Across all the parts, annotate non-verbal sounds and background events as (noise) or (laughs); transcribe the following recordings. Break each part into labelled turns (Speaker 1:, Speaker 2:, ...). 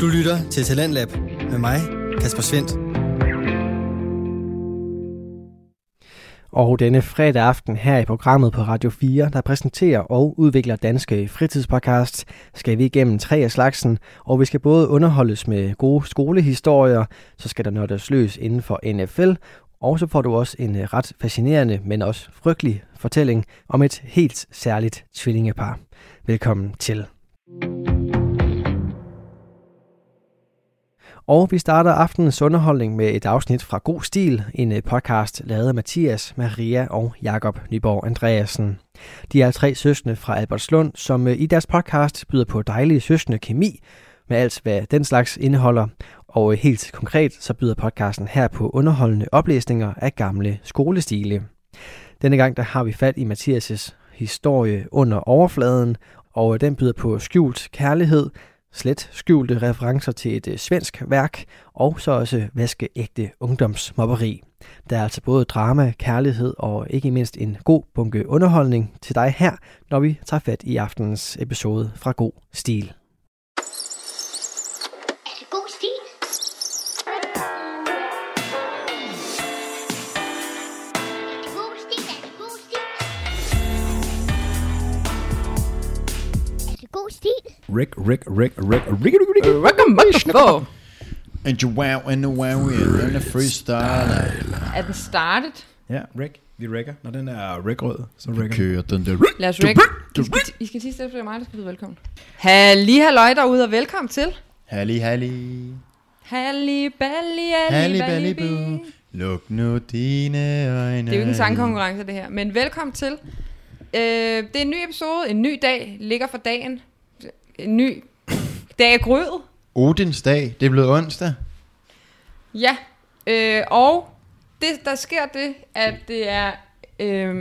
Speaker 1: Du lytter til Talentlab med mig, Kasper Svendt.
Speaker 2: Og denne fredag aften her i programmet på Radio 4, der præsenterer og udvikler danske fritidspodcast, skal vi igennem tre af slagsen, og vi skal både underholdes med gode skolehistorier, så skal der nørdes løs inden for NFL, og så får du også en øh, ret fascinerende, men også frygtelig fortælling om et helt særligt tvillingepar. Velkommen til. Og vi starter aftenens underholdning med et afsnit fra God Stil, en øh, podcast lavet af Mathias, Maria og Jakob Nyborg Andreasen. De er tre søstre fra Albertslund, som øh, i deres podcast byder på dejlige søstre kemi, med alt hvad den slags indeholder. Og øh, helt konkret så byder podcasten her på underholdende oplæsninger af gamle skolestile. Denne gang der har vi fat i Mathias' historie under overfladen, og den byder på skjult kærlighed, slet skjulte referencer til et øh, svensk værk, og så også vaskeægte ungdomsmobberi. Der er altså både drama, kærlighed og ikke mindst en god bunke underholdning til dig her, når vi tager fat i aftenens episode fra God Stil.
Speaker 3: Er det god stil? Er det god stil? Er det god stil? Er det god stil?
Speaker 4: Rick, Rick, Rick, Rick, Rick, Rick, Rick.
Speaker 5: Welcome back
Speaker 4: And you wow, and you wow, and the freestyle.
Speaker 5: Er den startet?
Speaker 4: Ja, Rick. Vi rækker. Når den er rækrød, så rækker vi. kører den der
Speaker 5: Lad os række. I skal, I skal sige stedet, for det er mig, der skal byde velkommen. Halli halløj derude, og velkommen til.
Speaker 4: Halli, halli.
Speaker 5: Halli balli, halli
Speaker 4: Halli,
Speaker 5: balli,
Speaker 4: balli,
Speaker 5: bi.
Speaker 4: bu. Luk nu dine øjne.
Speaker 5: Det er jo ikke en sangkonkurrence, det her. Men velkommen til. Øh, det er en ny episode, en ny dag, ligger for dagen. En ny dag er grød.
Speaker 4: Odins dag. Det er blevet onsdag.
Speaker 5: Ja, øh, og det, der sker det, at det er øh,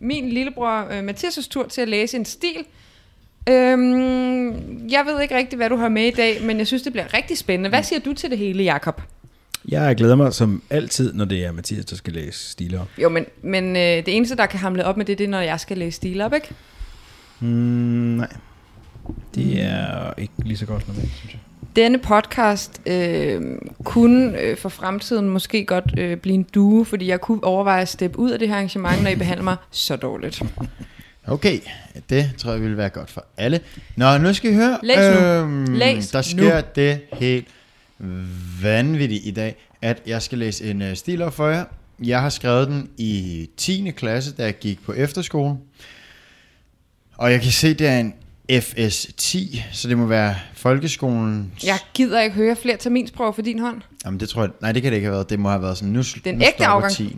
Speaker 5: min lillebror øh, Mathias' tur til at læse en stil. Øh, jeg ved ikke rigtig, hvad du har med i dag, men jeg synes, det bliver rigtig spændende. Hvad siger du til det hele, Jakob?
Speaker 6: Jeg glæder mig som altid, når det er Mathias, der skal læse stiler op.
Speaker 5: Jo, men, men øh, det eneste, der kan hamle op med det, det er, når jeg skal læse stil op, ikke?
Speaker 4: Hmm,
Speaker 6: Mm, nej. Det er ikke lige så godt normalt, synes jeg.
Speaker 5: Denne podcast øh, kunne øh, for fremtiden måske godt øh, blive en due, fordi jeg kunne overveje at steppe ud af det her arrangement, når I behandler mig så dårligt.
Speaker 4: Okay, det tror jeg ville være godt for alle. Nå, nu skal I høre. Øhm,
Speaker 5: Læs nu. Læs
Speaker 4: der
Speaker 5: nu.
Speaker 4: sker det helt vanvittigt i dag, at jeg skal læse en øh, stil op for jer. Jeg har skrevet den i 10. klasse, da jeg gik på efterskole. Og jeg kan se, det er en FS10, så det må være folkeskolen.
Speaker 5: Jeg gider ikke høre flere terminsprøver for din hånd.
Speaker 4: Jamen, det tror jeg, nej, det kan det ikke have været. Det må have været sådan, nu, sl-
Speaker 5: Den
Speaker 4: nu
Speaker 5: ægte
Speaker 4: stopper
Speaker 5: afgang.
Speaker 4: 10.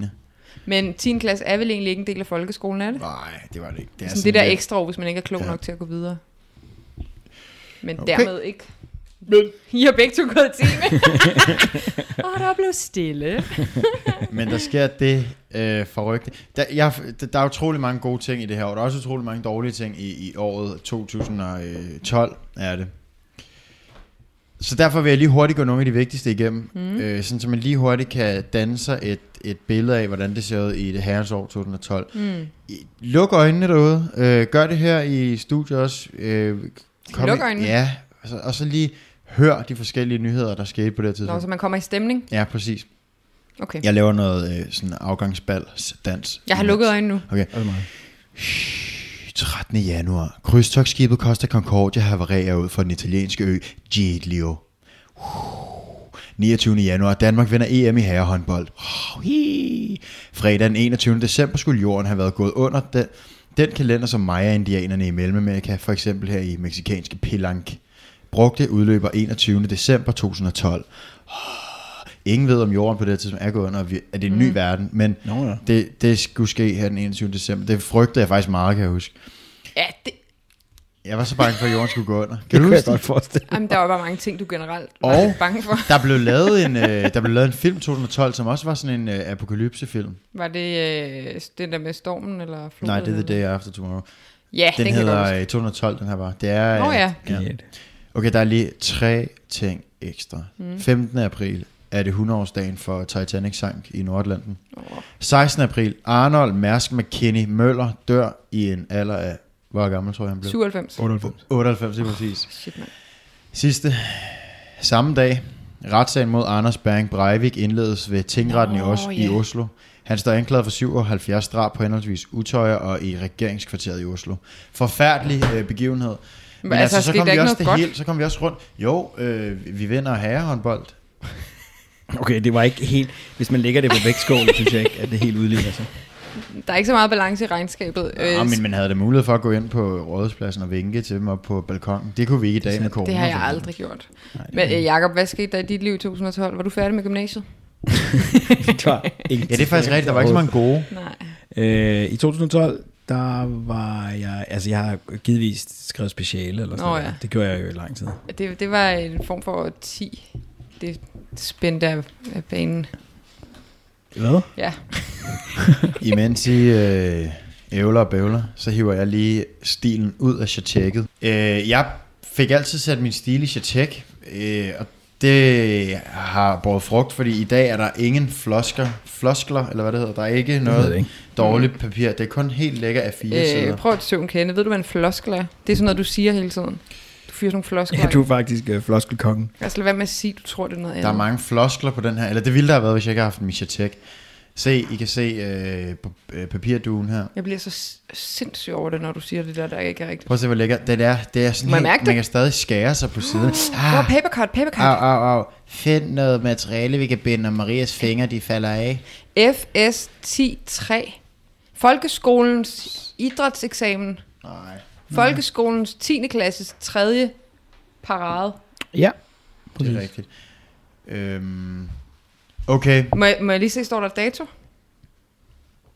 Speaker 5: Men 10. klasse er vel egentlig ikke en del af folkeskolen, er det?
Speaker 4: Nej, det var det ikke. Det, er
Speaker 5: Sådan det der
Speaker 4: lidt-
Speaker 5: ekstra år, hvis man ikke er klog
Speaker 4: Ja.
Speaker 5: nok til at gå videre. Men
Speaker 4: Okay.
Speaker 5: dermed ikke. Men. I har begge to gået i time. Og der blev stille.
Speaker 4: Men der sker det øh, forrygte. Der, jeg, der, der er utrolig mange gode ting i det her år. Der er også utrolig mange dårlige ting i, i året 2012 øh, er det. Så derfor vil jeg lige hurtigt gå nogle af de vigtigste igennem. Mm. Øh, sådan, så man lige hurtigt kan danne sig et, et billede af, hvordan det ser ud i det herrens år 2012. Mm. Luk øjnene derude. Øh, gør det her i studiet også. Øh,
Speaker 5: Luk
Speaker 4: i-
Speaker 5: øjnene?
Speaker 4: Ja, og så, og så lige hør de forskellige nyheder, der skete på det her
Speaker 5: Nå,
Speaker 4: tidspunkt.
Speaker 5: så man kommer i stemning.
Speaker 4: Ja, præcis.
Speaker 5: Okay.
Speaker 4: Jeg laver noget øh, sådan afgangsbalsdans.
Speaker 5: Jeg har lukket øjnene nu.
Speaker 4: Okay.
Speaker 6: Er det mig?
Speaker 4: 13. januar. Krydstogsskibet Costa Concordia havarerer ud for den italienske ø Giglio. 29. januar. Danmark vinder EM i herrehåndbold. Oh, hi. Fredag den 21. december skulle jorden have været gået under den, den kalender, som Maya-indianerne i Mellemamerika, for eksempel her i meksikanske Pilank, brugte udløber 21. december 2012. Oh, Ingen ved, om jorden på det her tidspunkt er gået under, og vi- at det er en ny verden, men
Speaker 6: Mm. Nå ja.
Speaker 4: det, det skulle ske her den 21. december. Det frygtede jeg faktisk meget, kan jeg huske.
Speaker 5: Ja, det,
Speaker 4: Jeg var så bange for, at jorden skulle gå
Speaker 6: (laughs)
Speaker 4: under. Kan
Speaker 6: Det
Speaker 4: du
Speaker 6: kunne jeg
Speaker 4: huske det?
Speaker 6: godt forestille.
Speaker 5: jamen, der var bare mange ting, du generelt var
Speaker 4: Og-
Speaker 5: lidt bange for.
Speaker 4: Der blev lavet en, øh, der blev lavet en film 2012, som også var sådan en øh, apokalypsefilm.
Speaker 5: Var det øh, den der med stormen eller floden?
Speaker 4: Nej, det er The
Speaker 5: eller-
Speaker 4: Day After Tomorrow.
Speaker 5: Ja, den,
Speaker 4: Den,
Speaker 5: den kan jeg godt
Speaker 4: hedder
Speaker 5: huske.
Speaker 4: øh, 212, den her var. Det er,
Speaker 5: Nå
Speaker 4: øh,
Speaker 5: ja.
Speaker 4: Okay, der er lige tre ting ekstra. Mm. 15. april er det 100-årsdagen for Titanic sank i Nordatlanten.
Speaker 5: Åh.
Speaker 4: 16. april, Arnold Mærsk McKinney Møller dør i en alder af... øh, Hvor gammel tror jeg, han blev?
Speaker 5: 97.
Speaker 6: 98.
Speaker 4: 98, lige præcis.
Speaker 5: Shit, mand.
Speaker 4: Sidste. Samme dag, retssagen mod Anders Bering Breivik indledes ved tingretten i, Os- i Oslo. Han står anklaget for 77 drab på henholdsvis Utøjer og i regeringskvarteret i Oslo. Forfærdelig øh, begivenhed. Men,
Speaker 5: altså, skete der
Speaker 4: vi
Speaker 5: ikke
Speaker 4: også
Speaker 5: noget godt?
Speaker 4: hele, så kom vi også rundt. Jo, øh, vi vinder herrehåndbold.
Speaker 6: Okay, det var ikke helt... Hvis man lægger det på
Speaker 4: (laughs)
Speaker 6: vægtskål, synes jeg ikke, at det helt udligner sig.
Speaker 5: Der er ikke så meget balance i regnskabet. øh,
Speaker 4: Ja, Ah, men man havde da mulighed for at gå ind på rådhuspladsen og vinke til dem op på balkongen. Det kunne vi ikke i dag med corona.
Speaker 5: det har jeg
Speaker 4: for eksempel.
Speaker 5: aldrig gjort. Men øh, Jacob, hvad skete der i dit liv i 2012? Var du færdig med gymnasiet?
Speaker 6: Det var
Speaker 4: Ja, det er faktisk rigtigt. Der var ikke så mange gode.
Speaker 5: Nej.
Speaker 6: Øh, I 2012, der var jeg... Altså, jeg har givetvis skrevet speciale, eller sådan
Speaker 5: Nå
Speaker 6: noget.
Speaker 5: ja.
Speaker 6: Det gjorde jeg jo i lang tid.
Speaker 5: Det, det var en form for 10. Det spændte af, af banen.
Speaker 6: Hvad?
Speaker 5: Ja.
Speaker 4: Imens I øh, ævler og bævler, så hiver jeg lige stilen ud af chatækket. Øh, jeg fik altid sat min stil i chatæk, øh, og det har båret frugt, fordi i dag er der ingen flosker, floskler, eller hvad det hedder. Der er ikke
Speaker 6: ved
Speaker 4: noget
Speaker 6: jeg ikke.
Speaker 4: dårligt papir. Det er kun helt lækker af fire øh, sider.
Speaker 5: Øh, prøv at søge en kende. Ved du, hvad en floskel er? Det er sådan noget, du siger hele tiden. Du fyrer sådan nogle floskler.
Speaker 6: Ja, du er faktisk øh, floskelkongen.
Speaker 5: af. Altså lad være med at sige, du tror, det er noget andet.
Speaker 4: Der er mange floskler på den her, eller det ville der have været, hvis jeg ikke havde haft en Michatek. Se, I kan se øh, p- øh, papirduen her.
Speaker 5: Jeg bliver så s- sindssyg over det, når du siger det der, der ikke er rigtigt.
Speaker 4: Prøv at se, hvor lækker. Det er, det er sådan
Speaker 5: Må jeg
Speaker 4: helt,
Speaker 5: mærke det?
Speaker 4: man kan stadig skære sig på siden.
Speaker 5: Ah.
Speaker 4: Ah,
Speaker 5: Oh, papercut, papercut.
Speaker 4: Au, au, au. Find noget materiale, vi kan binde, og Marias fingre, de falder af.
Speaker 5: FS 10.3. Folkeskolens idrætseksamen.
Speaker 4: Nej.
Speaker 5: Mm. Folkeskolens 10. klasses 3. parade.
Speaker 6: Ja.
Speaker 4: Det er rigtigt. Øhm, okay.
Speaker 5: Må jeg, må jeg lige se, står der dato?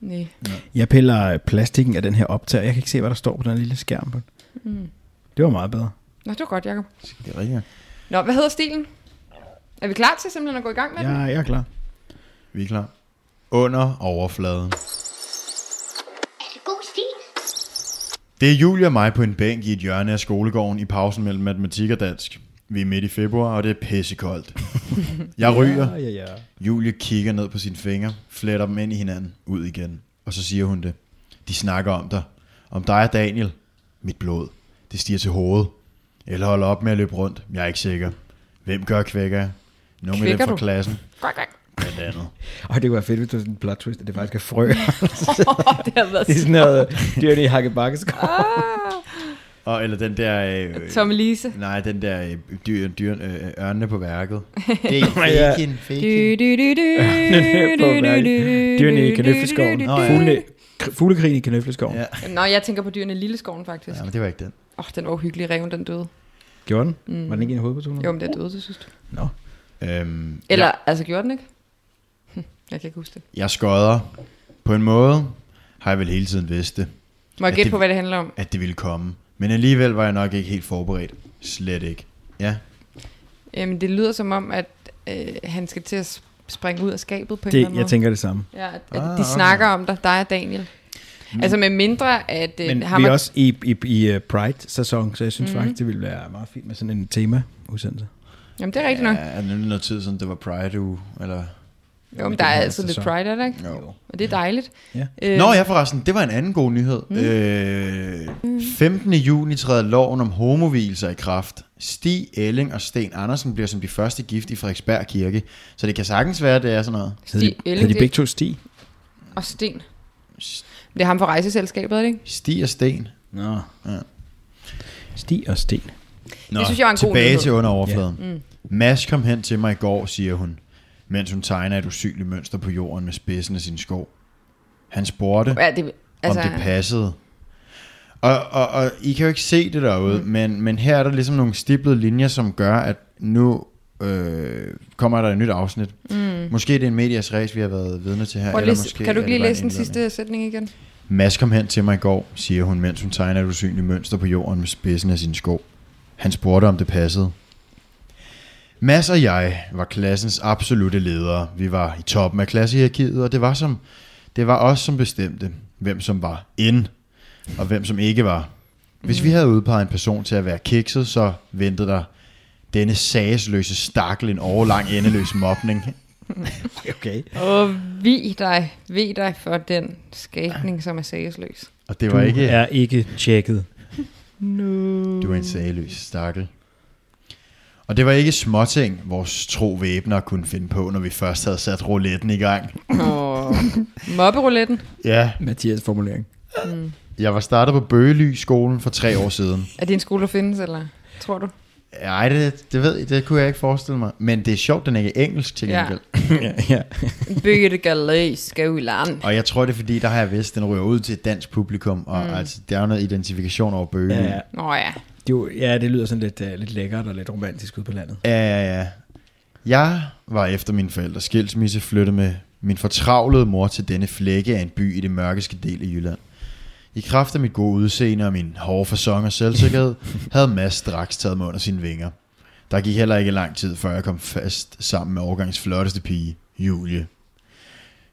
Speaker 5: Nej.
Speaker 6: Jeg piller øh, plastikken af den her optager. Jeg kan ikke se, hvad der står på den her lille skærm. På. Mm. Det var meget bedre.
Speaker 5: Nå, det var godt, Jacob.
Speaker 4: Det er rigtigt.
Speaker 5: Nå, hvad hedder stilen? Er vi klar til simpelthen at gå i gang med
Speaker 6: Ja,
Speaker 5: den?
Speaker 6: jeg er klar.
Speaker 4: Vi er klar. Under overfladen.
Speaker 3: Er det god stil?
Speaker 4: Det er Julie og mig på en bænk i et hjørne af skolegården i pausen mellem matematik og dansk. Vi er midt i februar, og det er pissekoldt. Jeg ryger.
Speaker 6: Ja, ja, ja.
Speaker 4: Julie kigger ned på sine fingre, fletter dem ind i hinanden, ud igen. Og så siger hun det. De snakker om dig. Om dig og Daniel. Mit blod. Det stiger til hovedet. Eller holder op med at løbe rundt. Jeg er ikke sikker. Hvem gør kvækker jeg? Nogle af
Speaker 5: Kvækker
Speaker 4: dem fra
Speaker 5: du?
Speaker 4: klassen,
Speaker 5: Godt, godt.
Speaker 4: blandt andet.
Speaker 6: Og det kunne være fedt, hvis du sådan en plot twist, at det faktisk er
Speaker 5: (laughs)
Speaker 6: frø. (laughs)
Speaker 5: det har været
Speaker 6: det er sådan noget dyrene i hakkebakkeskoven.
Speaker 4: Og, eller den der...
Speaker 5: (laughs)
Speaker 4: Øh,
Speaker 5: Tomme Lise.
Speaker 4: Nej, den der øh, dyr, dyr, øh, ørnene på værket.
Speaker 5: (laughs)
Speaker 4: Det
Speaker 6: Ja.
Speaker 4: er fake fake
Speaker 6: Dyrene i kanøfleskoven.
Speaker 4: Nå, ja.
Speaker 6: Fuglene, k- fuglekrigen i kanøfleskoven.
Speaker 4: Ja.
Speaker 6: Ja.
Speaker 5: Nå, jeg tænker på dyrene i Lilleskoven, faktisk.
Speaker 4: Ja,
Speaker 5: Åh,
Speaker 4: men det var ikke den.
Speaker 5: oh, den var uhyggelig. Reven, den døde.
Speaker 6: Gjorde den? Mm. Var den ikke en hovedperson?
Speaker 5: Jo, men den døde, det synes du.
Speaker 6: Nå.
Speaker 4: Øhm,
Speaker 5: Eller, ja. altså, gjorde den ikke? Hm, Jeg kan ikke huske det.
Speaker 4: Jeg skodder. På en måde har jeg vel hele tiden vidst det,
Speaker 5: Må jeg
Speaker 4: Ja,
Speaker 5: gætte
Speaker 4: det-
Speaker 5: på, hvad det handler om?
Speaker 4: at det ville komme. Men alligevel var jeg nok ikke helt forberedt. Slet ikke. Ja,
Speaker 5: Jamen, Øhm, det lyder som om, at øh, han skal til at s- springe ud af skabet på en eller
Speaker 6: Det,
Speaker 5: anden
Speaker 6: jeg
Speaker 5: måde.
Speaker 6: tænker det samme.
Speaker 5: Ja, at,
Speaker 4: Ah,
Speaker 5: at
Speaker 4: okay. Mm.
Speaker 5: de snakker om dig, dig og Daniel. Altså, med mindre, at øh,
Speaker 6: Men
Speaker 5: har
Speaker 6: vi er
Speaker 5: man Mhm.
Speaker 6: også i, i, i øh, Pride-sæson, så jeg synes mm-hmm. faktisk, det ville være meget fint med sådan en tema-udsendelse.
Speaker 5: Jamen, det er rigtigt nok.
Speaker 4: ja er det nu noget tid siden, det var Pride uge, eller...
Speaker 5: Jo, men
Speaker 6: det
Speaker 5: der er
Speaker 6: er
Speaker 5: altid lidt
Speaker 6: sæson.
Speaker 5: pride, er der ikke?
Speaker 4: altså Jo.
Speaker 5: Og det er dejligt.
Speaker 6: Ja.
Speaker 5: Øh,
Speaker 4: Nå ja, forresten, det var en anden god nyhed. Mm. Øh, 15. juni træder loven om homovielser i kraft. Stig Elling og Sten Andersen bliver som de første gift i Frederiksberg Kirke. Så det kan sagtens være, at det er sådan noget.
Speaker 6: Hed de,
Speaker 5: Stig
Speaker 6: hed de
Speaker 5: Elling
Speaker 6: begge to Stig?
Speaker 5: og Sten. Det er ham fra rejseselskabet, er det ikke?
Speaker 4: Stig og Sten.
Speaker 6: Nå.
Speaker 4: Ja.
Speaker 6: Stig og Sten.
Speaker 4: Nå,
Speaker 5: Det synes jeg var en god
Speaker 4: tilbage
Speaker 5: nyhed.
Speaker 4: til under overfladen. Ja. Mm. Mads kom hen til mig i går, siger hun, mens hun tegner et usynligt mønster på jorden med spidsen af sin sko. Han spurgte,
Speaker 5: Ja, det,
Speaker 4: altså,
Speaker 5: altså,
Speaker 4: om det passede. Og, og, og I kan jo ikke se det derude, mm. men, men her er der ligesom nogle stiplede linjer, som gør, at nu øh, kommer der et nyt afsnit. Mm. Måske det er en medias race, vi har været vidne til her.
Speaker 5: prøv at
Speaker 4: eller
Speaker 5: læse-
Speaker 4: måske
Speaker 5: kan du
Speaker 4: er
Speaker 5: ikke
Speaker 4: det
Speaker 5: lige
Speaker 4: bare en
Speaker 5: læse den
Speaker 4: indledning.
Speaker 5: sidste sætning igen?
Speaker 4: Mads kom hen til mig i går, siger hun, mens hun tegner et usynligt mønster på jorden med spidsen af sin sko. Han spurgte, om det passede. Mads og jeg var klassens absolute ledere. Vi var i toppen af klassehierarkiet, og det var, som, det var os, som bestemte, hvem som var ind, og hvem som ikke var. Hvis vi havde udpeget en person til at være kikset, så ventede der denne sagsløse stakkel en overlang endeløs mobning.
Speaker 6: Okay.
Speaker 5: Og vi dig, vi dig for den skabning, som er sagesløs.
Speaker 4: (laughs) Og det
Speaker 6: Du
Speaker 4: var ikke...
Speaker 6: er ikke tjekket.
Speaker 4: Du er en sageløs stakkel. Og det var ikke småting, vores tro væbner kunne finde på, når vi først havde sat rouletten i gang.
Speaker 5: Og mobberouletten.
Speaker 4: Ja,
Speaker 6: Mathias formulering.
Speaker 4: jeg var startet på Bøgely skolen for tre år siden.
Speaker 5: Er det en skole, der findes, eller tror du?
Speaker 4: Nej, det, det ved jeg, det kunne jeg ikke forestille mig. Men det er sjovt, den ikke er engelsk til
Speaker 5: Ja.
Speaker 4: gengæld.
Speaker 6: (laughs) ja, ja.
Speaker 5: Bygge det galeri, skal i land.
Speaker 4: Og jeg tror, det er fordi, der har jeg vidst, den ryger ud til et dansk publikum, og mm. altså, der er jo noget identifikation over Bøgely.
Speaker 6: ja, ja.
Speaker 5: Nå ja.
Speaker 6: Det, er jo- ja, det lyder sådan lidt, uh, lidt lækkert og lidt romantisk ud på landet.
Speaker 4: Ja, ja, ja. Jeg var efter min forældres skilsmisse flyttet med min fortravlede mor til denne flække af en by i det mørkeste del af Jylland. I kraft af mit gode udseende og min hårde fasong og selvsikkerhed, havde Mads straks taget mig under sine vinger. Der gik heller ikke lang tid, før jeg kom fast sammen med årgangs flotteste pige, Julie.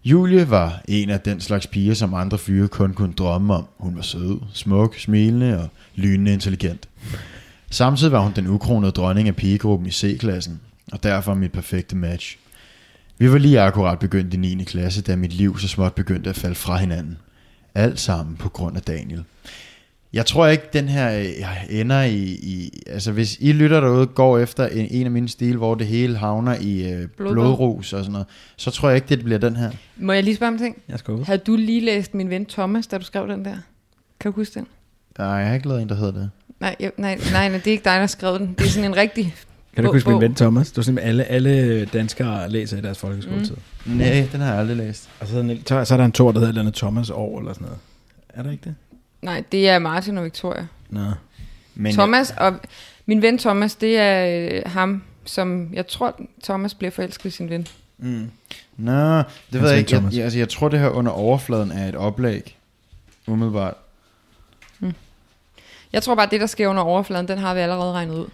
Speaker 4: Julie var en af den slags piger, som andre fyre kun kunne drømme om. Hun var sød, smuk, smilende og lynende intelligent. Samtidig var hun den ukronede dronning af pigegruppen i C-klassen, og derfor mit perfekte match. Vi var lige akkurat begyndt i 9. klasse, da mit liv så småt begyndte at falde fra hinanden. Alt sammen på grund af Daniel. Jeg tror ikke, den her øh, ender i, i... Altså, hvis I lytter derude, går efter en, en af mine stil, hvor det hele havner i øh,
Speaker 5: Blodbad.
Speaker 4: blodrus og sådan noget, så tror jeg ikke, det bliver den her.
Speaker 5: Må jeg lige spørge om en ting?
Speaker 6: Jeg skal ud.
Speaker 5: Havde du lige læst min ven Thomas, da du skrev den der? Kan du huske den?
Speaker 4: Nej, jeg har ikke lavet en, der hedder det.
Speaker 5: Nej, jeg, nej, nej, nej, det er ikke dig, der har skrevet den. Det er sådan en rigtig...
Speaker 6: Kan du ikke huske min
Speaker 5: bog.
Speaker 6: ven Thomas? Det var simpelthen alle, alle danskere læser i deres folkeskoletid. Mm.
Speaker 4: Nej, den har jeg aldrig læst.
Speaker 5: Mm.
Speaker 6: Og så, er der en- så, så er der en tor, der hedder et eller andet Thomas År eller sådan noget. Er der ikke det?
Speaker 5: Nej, det er Martin og Victoria.
Speaker 6: Nå.
Speaker 4: Men
Speaker 5: Thomas og... Min ven Thomas, det er øh, ham, som jeg tror, Thomas bliver forelsket i sin ven.
Speaker 4: Nå, det ved
Speaker 6: sagde
Speaker 4: jeg ikke. Jeg,
Speaker 6: Thomas.
Speaker 4: jeg, altså, jeg tror, det her under overfladen er et oplæg. Umiddelbart.
Speaker 5: Jeg tror bare, at det, der sker under overfladen, den har vi allerede regnet ud.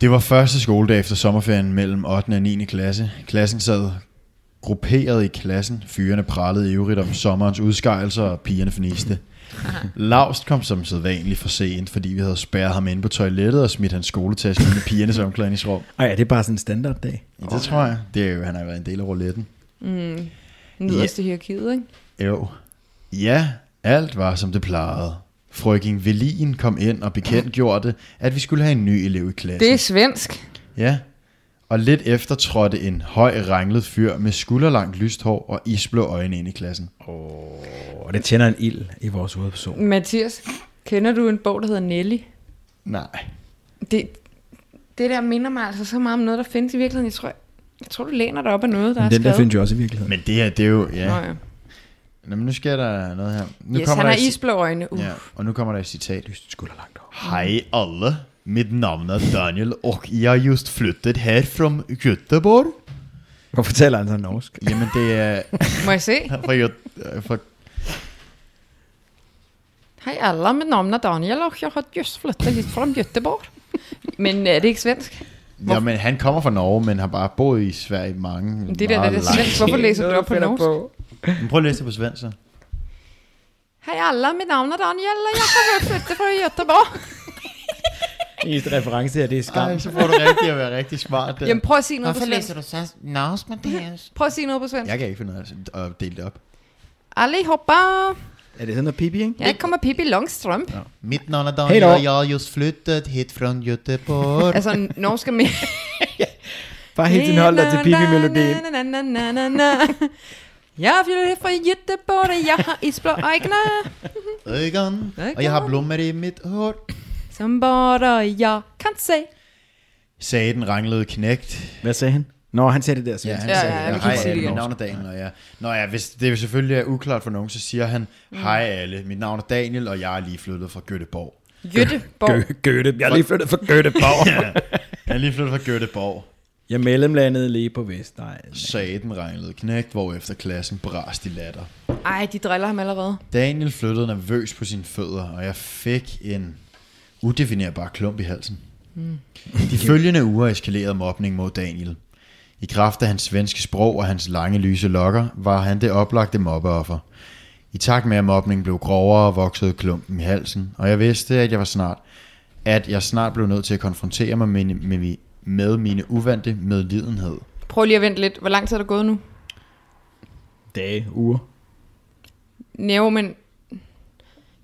Speaker 4: Det var første skoledag efter sommerferien mellem 8. og 9. klasse. Klassen sad grupperet i klassen. Fyrene prallede ivrigt om sommerens udskejelser, og pigerne fniste. Laust kom som sædvanligt for sent, fordi vi havde spærret ham inde på toilettet og smidt hans skoletaske ind i pigernes omklædningsrum.
Speaker 6: Ej, er det bare sådan en standarddag?
Speaker 4: Ja, det tror jeg. Det er jo, han har været en del af rouletten.
Speaker 5: Nederst i hierarkiet, ikke?
Speaker 4: Jo. Ja, alt var som det plejede. Frøken Velin kom ind og bekendtgjorde, at vi skulle have en ny elev i klassen.
Speaker 5: Det er svensk.
Speaker 4: Ja. Og lidt efter trådte en høj, ranglet fyr med skulderlangt lyst hår og isblå øjne ind i klassen.
Speaker 6: Og det tænder en ild i vores
Speaker 5: Mm,
Speaker 6: hovedperson.
Speaker 5: Mathias, kender du en bog, der hedder Nelly?
Speaker 4: Nej.
Speaker 5: Det, det der minder mig altså så meget om noget, der findes i virkeligheden. Jeg tror, jeg tror du læner dig op af noget, der er
Speaker 6: Den der
Speaker 5: skrevet.
Speaker 6: findes jo også i virkeligheden.
Speaker 4: Men det her, det er jo... Ja.
Speaker 5: Nå, ja.
Speaker 4: Nå, men nu sker der noget her. Nu
Speaker 5: Yes, han
Speaker 4: der
Speaker 5: har
Speaker 4: et-
Speaker 5: isblå øjne. Uh.
Speaker 4: Ja, og nu kommer der et citat.
Speaker 6: Lyst skulder langt over.
Speaker 4: Hej alle, mit navn er Daniel, og jeg har just flyttet her fra Göteborg.
Speaker 6: Hvorfor taler han så norsk?
Speaker 4: Jamen det er (laughs)
Speaker 5: Må jeg se?
Speaker 4: fra, Göte- fra
Speaker 5: Hej alla, mit navn er Daniel, og jeg har just flyttet hit fra Göteborg. Men er det ikke svensk?
Speaker 4: Ja, men han kommer fra Norge, men har bare boet i Sverige mange,
Speaker 5: Det der, det er
Speaker 4: meget
Speaker 5: det
Speaker 4: lang-
Speaker 5: svensk. Hvorfor læser du det op på norsk?
Speaker 4: Men Prøv at læse det på svensk, så.
Speaker 5: Hej alla, mit navn er Daniel, og jeg har flyttet fra Göteborg.
Speaker 6: Eneste reference her, det er
Speaker 4: Ej, så får du rigtig at være rigtig smart. Der.
Speaker 5: Jamen prøv at sige noget på svensk.
Speaker 7: du så navs, Mathias?
Speaker 5: Prøv at sige noget på svensk.
Speaker 4: Jeg kan ikke finde ud af at dele det op.
Speaker 5: Allihopa,
Speaker 6: Er det sådan noget pipi, ikke?
Speaker 5: jeg kommer Pippi Longstrømpe.
Speaker 4: Mit navn er
Speaker 6: Hej
Speaker 4: Daniel,
Speaker 6: då.
Speaker 4: og jeg har just flyttet hit fra Göteborg.
Speaker 5: Altså, norsk er mere...
Speaker 6: Bare hele tiden holder til pipi-melodien.
Speaker 5: Na, na, na, na, na. Jeg flytter fra Göteborg, og jeg har isblå øjne,
Speaker 4: Øgon, og jeg har blommer i mit hår.
Speaker 5: som bare jeg kan se.
Speaker 4: Sagde den ranglede knægt.
Speaker 6: Hvad sagde han? Nå, han sagde det der. Ja,
Speaker 4: han
Speaker 5: Ja,
Speaker 4: sagde
Speaker 5: ja,
Speaker 4: det.
Speaker 5: vi kan
Speaker 4: Hej,
Speaker 5: ikke sige det
Speaker 4: alle,
Speaker 5: igen.
Speaker 4: mit navn er Daniel, og jeg... Nå ja, hvis det selvfølgelig er uklart for nogen, så siger han,
Speaker 5: Mm.
Speaker 4: hej alle, mit navn er Daniel, og jeg er lige flyttet fra Göteborg.
Speaker 5: Göteborg.
Speaker 6: Gøte. Jeg er lige flyttet fra Gøteborg.
Speaker 4: (laughs) Jeg er lige flyttet fra Göteborg.
Speaker 6: (laughs) Jeg mellemlandede lige på Vestegn.
Speaker 4: Sagde den ranglede knægt, hvorefter klassen brast i latter.
Speaker 5: Ej, de driller ham allerede.
Speaker 4: Daniel flyttede nervøs på sine fødder, og jeg fik en udefinerbar klump i halsen. Mm. De følgende uger eskalerede mobning mod Daniel. I kraft af hans svenske sprog og hans lange lyse lokker, var han det oplagte mobbeoffer. I takt med, at mobningen blev grovere, voksede klumpen i halsen, og jeg vidste, at jeg var snart, at jeg snart blev nødt til at konfrontere mig med, med, med mine uvante medlidenhed.
Speaker 5: Prøv lige at vente lidt. Hvor lang tid er der gået nu?
Speaker 6: Dage, uger.
Speaker 5: Næv, men...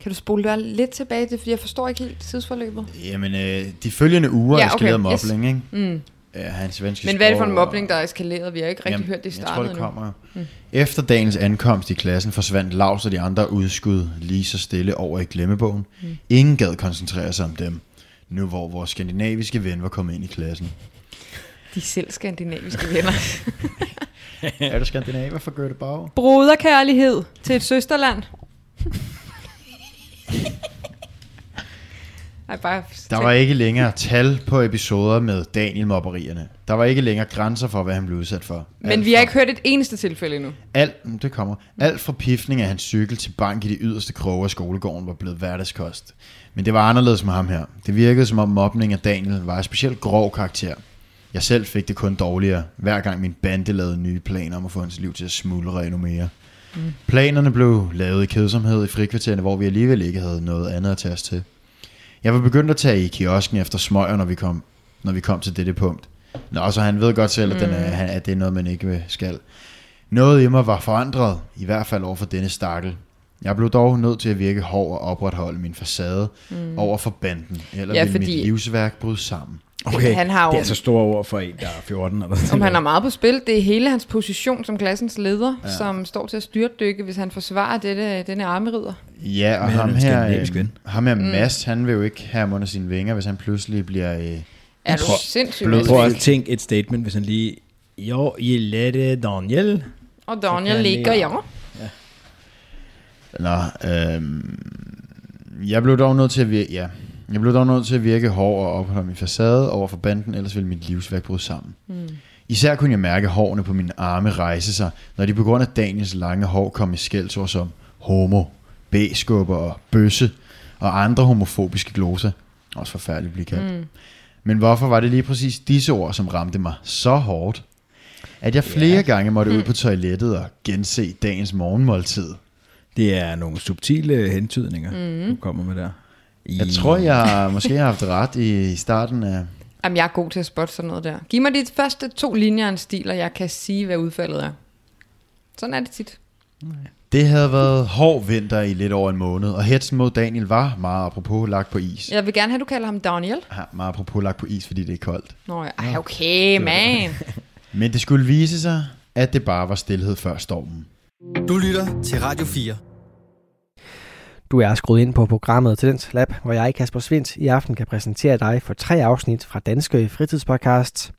Speaker 5: Kan du spole lidt tilbage? Det er, fordi jeg forstår ikke helt tidsforløbet.
Speaker 4: Jamen, øh, de følgende uger
Speaker 5: Ja,
Speaker 4: ja,
Speaker 5: okay,
Speaker 4: okay. eskalerede
Speaker 5: yes.
Speaker 4: mobling, ikke?
Speaker 5: Mm.
Speaker 4: Øh, hans svenske
Speaker 5: Men hvad er det for en
Speaker 4: sprog og-
Speaker 5: mobling, der er eskaleret? Vi har ikke rigtig
Speaker 4: Jamen,
Speaker 5: hørt det i
Speaker 4: Jeg tror,
Speaker 5: starten
Speaker 4: det
Speaker 5: endnu.
Speaker 4: kommer. Mm. Efter dagens ankomst i klassen forsvandt Lars og de andre udskud lige så stille over i glemmebogen. Mm. Ingen gad koncentrere sig om dem, nu hvor vores skandinaviske ven var kommet ind i klassen.
Speaker 5: De er selv skandinaviske venner.
Speaker 4: er du skandinaver for Göteborg?
Speaker 5: Broderkærlighed til et søsterland. Ej, bare
Speaker 4: Der var ikke længere tal på episoder med Daniel Mobberierne. Der var ikke længere grænser for, hvad han blev udsat for.
Speaker 5: Men vi har ikke hørt et eneste tilfælde endnu.
Speaker 4: Alt, mm, det kommer. Alt fra pifning af hans cykel til bank i de yderste kroge af skolegården var blevet hverdagskost. Men det var anderledes med ham her. Det virkede som om mobning af Daniel var af specielt grov karakter. Jeg selv fik det kun dårligere, hver gang min bande lavede nye planer om at få hans liv til at smuldre endnu mere. Mm. Planerne blev lavet i kedsomhed i frikvartererne, hvor vi alligevel ikke havde noget andet at tage os til. Jeg var begyndt at tage i kiosken efter smøger, når vi kom, når vi kom til dette punkt. Nå, så han ved godt selv, at, den er, han- at det er noget, man ikke øh, skal. Noget i mig var forandret, i hvert fald over for denne stakkel. Jeg blev dog nødt til at virke hård og opretholde min facade mm. over for banden, eller
Speaker 5: Ja,
Speaker 4: ja, ville
Speaker 5: fordi-
Speaker 4: mit livsværk bryde sammen.
Speaker 6: Okay,
Speaker 5: Han har jo-
Speaker 6: det er så store ord for en, der er 14. Eller
Speaker 5: Om han har meget på spil. Det er hele hans position som klassens leder, ja. som står til at styrtdykke, hvis han forsvarer dette, denne armerider.
Speaker 4: Ja, og
Speaker 6: Men han er
Speaker 4: ham
Speaker 6: en
Speaker 4: her,
Speaker 6: skandinavisk
Speaker 4: øh,
Speaker 6: ven.
Speaker 4: ham her Mads, han vil jo ikke have ham under sine vinger, hvis han pludselig bliver... Øh,
Speaker 5: Er du
Speaker 6: Prøv-
Speaker 5: sindssyg?
Speaker 4: blød
Speaker 5: mand?
Speaker 6: Prøv at tænke et statement, hvis han lige... Jo, I lette Daniel.
Speaker 5: Og
Speaker 6: Så kan
Speaker 5: Daniel
Speaker 6: han
Speaker 5: ligger
Speaker 6: lige-
Speaker 5: jo.
Speaker 4: Nå, øh, jeg blev dog nødt til at virke, ja. Jeg blev dog nødt til at virke hård og opholde min facade over for banden, ellers ville mit livsværk bryde sammen. Mm. Især kunne jeg mærke hårene på mine arme rejse sig, når de på grund af Daniels lange hår kom i skældsord som homo, b-skubber og bøsse og andre homofobiske gloser. Også forfærdeligt at blive kaldt. Mm. Men hvorfor var det lige præcis disse ord, som ramte mig så hårdt, at jeg flere yeah. gange måtte (laughs) ud på toilettet og gense dagens morgenmåltid?
Speaker 6: Det er nogle subtile hentydninger,
Speaker 5: Mhm.
Speaker 6: mm. du kommer med der. I...
Speaker 4: Jeg tror, jeg måske har haft ret i starten af...
Speaker 5: Jamen, jeg er god til at spotte sådan noget der. Giv mig de første to linjer af en stil, og jeg kan sige, hvad udfaldet er. Sådan er det tit.
Speaker 4: Det havde været hård vinter i lidt over en måned, og hetsen mod Daniel var meget apropos lagt på is. Ja.
Speaker 5: Jeg vil gerne have, at du kalder ham Daniel.
Speaker 4: Meget apropos lagt på is, fordi det er koldt.
Speaker 5: Nå, ja. Ej, okay, man.
Speaker 4: Men det skulle vise sig, at det bare var stillhed før stormen.
Speaker 1: Du lytter til Radio 4.
Speaker 2: Du er skruet ind på programmet Talents Lab, hvor jeg, Kasper Svindt, i aften kan præsentere dig for tre afsnit fra Danske Fritidspodcasts.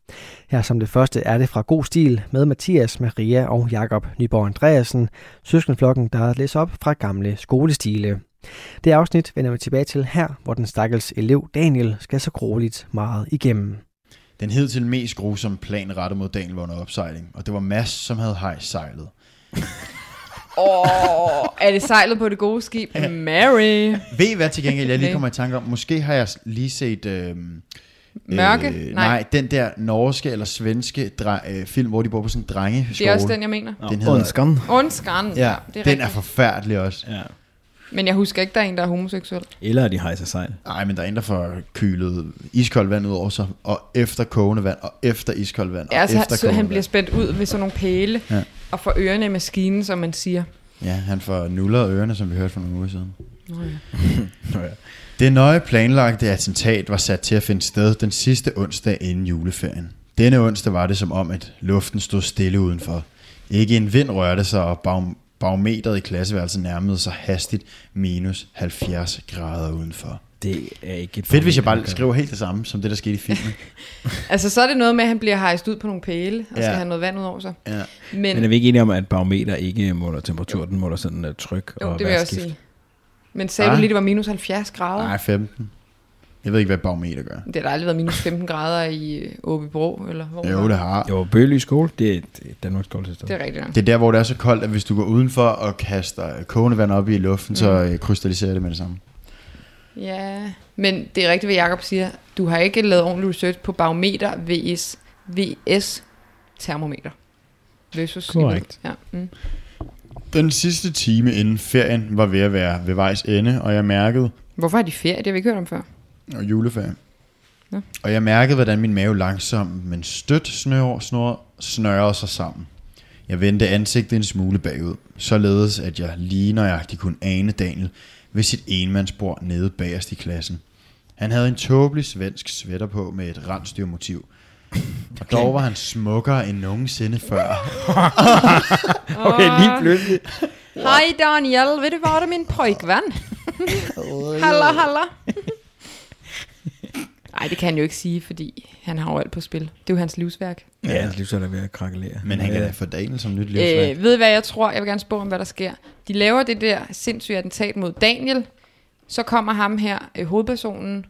Speaker 2: Her som det første er det fra God Stil med Mathias, Maria og Jakob Nyborg Andreasen, søskenflokken, der læser op fra gamle skolestile. Det afsnit vender vi tilbage til her, hvor den stakkels elev Daniel skal så grueligt meget igennem.
Speaker 4: Den hed til mest grusomme plan rettet mod Daniel var under opsejling, og det var Mads, som havde hejst sejlet.
Speaker 5: Åh, (laughs) er det sejlet på det gode skib? Mary.
Speaker 4: Ved I hvad til gengæld, jeg lige
Speaker 5: Okay.
Speaker 4: kommer i tanke om? Måske har jeg lige set... øhm, Øh,
Speaker 5: Mørke?
Speaker 4: nej.
Speaker 5: Nej.
Speaker 4: nej, den der norske eller svenske dre- øh, film, hvor de bor på sådan en drengeskole.
Speaker 5: Det er også den, jeg mener.
Speaker 4: den hedder-
Speaker 6: Undskan.
Speaker 5: Undskan.
Speaker 4: Ja,
Speaker 5: det er
Speaker 4: den er
Speaker 5: rigtigt.
Speaker 4: forfærdelig også.
Speaker 6: Ja.
Speaker 5: Men jeg husker ikke, der er en, der er homoseksuel.
Speaker 6: Eller de hejser sejl.
Speaker 4: Nej, men der er en, der får kølet iskoldt vand ud over sig, og efter kogende vand, og efter iskoldt vand, og
Speaker 5: Ja, altså, så,
Speaker 4: efter
Speaker 5: han- så han
Speaker 4: kogende
Speaker 5: bliver
Speaker 4: vand.
Speaker 5: spændt ud ved sådan nogle pæle, ja.
Speaker 4: Ja.
Speaker 5: og får ørerne i maskinen, som man siger.
Speaker 4: Ja, han får nuller ørerne, som vi hørte for nogle uger siden.
Speaker 5: Nå ja.
Speaker 6: Nå ja.
Speaker 4: Det nøje planlagte attentat var sat til at finde sted den sidste onsdag inden juleferien. Denne onsdag var det som om, at luften stod stille udenfor. Ikke en vind rørte sig, og bag- barometeret i klasseværelset nærmede sig hastigt minus 70 grader udenfor.
Speaker 6: Det er ikke et
Speaker 4: Fedt, hvis jeg
Speaker 6: problem,
Speaker 4: bare
Speaker 6: man gør.
Speaker 4: skriver helt det samme, som det, der skete i filmen.
Speaker 5: Altså, så er det noget med, at han bliver hejst ud på nogle pæle, og skal
Speaker 4: Ja.
Speaker 5: have noget vand ud over sig.
Speaker 4: Ja.
Speaker 5: Men,
Speaker 6: Men er vi ikke enige om, at barometer ikke måler temperatur, den måler sådan uh, tryk
Speaker 5: jo,
Speaker 6: og
Speaker 5: det vil jeg også
Speaker 6: vejrskift?
Speaker 5: sige. Men sagde du
Speaker 4: Ah.
Speaker 5: lige, det var minus 70 grader?
Speaker 4: Nej, 15. Jeg ved ikke, hvad barometer gør.
Speaker 5: Det har da aldrig været minus 15 grader i Åbibro, eller hvor
Speaker 4: Jo,
Speaker 5: var
Speaker 4: det har.
Speaker 6: Jo, Bøly skole, det er det er Danmarks skolesystem.
Speaker 5: Det er rigtigt nok.
Speaker 4: Det er der, hvor det er så koldt, at hvis du går udenfor og kaster øh, kogende vand op i luften, mm. så øh, krystalliserer det med det samme.
Speaker 5: Ja, men det er rigtigt, hvad Jacob siger. Du har ikke lavet ordentlig research på barometer VS, VS termometer. Versus
Speaker 6: Korrekt.
Speaker 5: Ja, mm.
Speaker 4: Den sidste time inden ferien var ved at være ved vejs ende, og jeg mærkede,
Speaker 5: Hvorfor har de ferie? Det har vi ikke hørt om før.
Speaker 4: og juleferie,
Speaker 5: Nå.
Speaker 4: og jeg mærkede, hvordan min mave langsomt, men stødt snør, snor, snørrede sig sammen. Jeg vendte ansigtet en smule bagud, således at jeg lige nøjagtigt kunne ane Daniel, ved sit enmandsbord nede bagerst i klassen. Han havde en tåbelig svensk sweater på med et rensdyrmotiv. Og dog var han smukkere end nogensinde før.
Speaker 6: Okay, lige pludselig.
Speaker 5: Hej Daniel, vil du være min pojkvand? halla, (laughs) halla. Nej, det kan han jo ikke sige, fordi han har jo alt på spil. Det er jo hans livsværk.
Speaker 6: Ja, hans livsøl er ved at krakkelere.
Speaker 4: Men han kan da få Daniel som nyt livsværk.
Speaker 5: Øh, ved I, hvad jeg tror? Jeg vil gerne spå om, hvad der sker. De laver det der sindssyge attentat mod Daniel. Så kommer ham her, øh, hovedpersonen,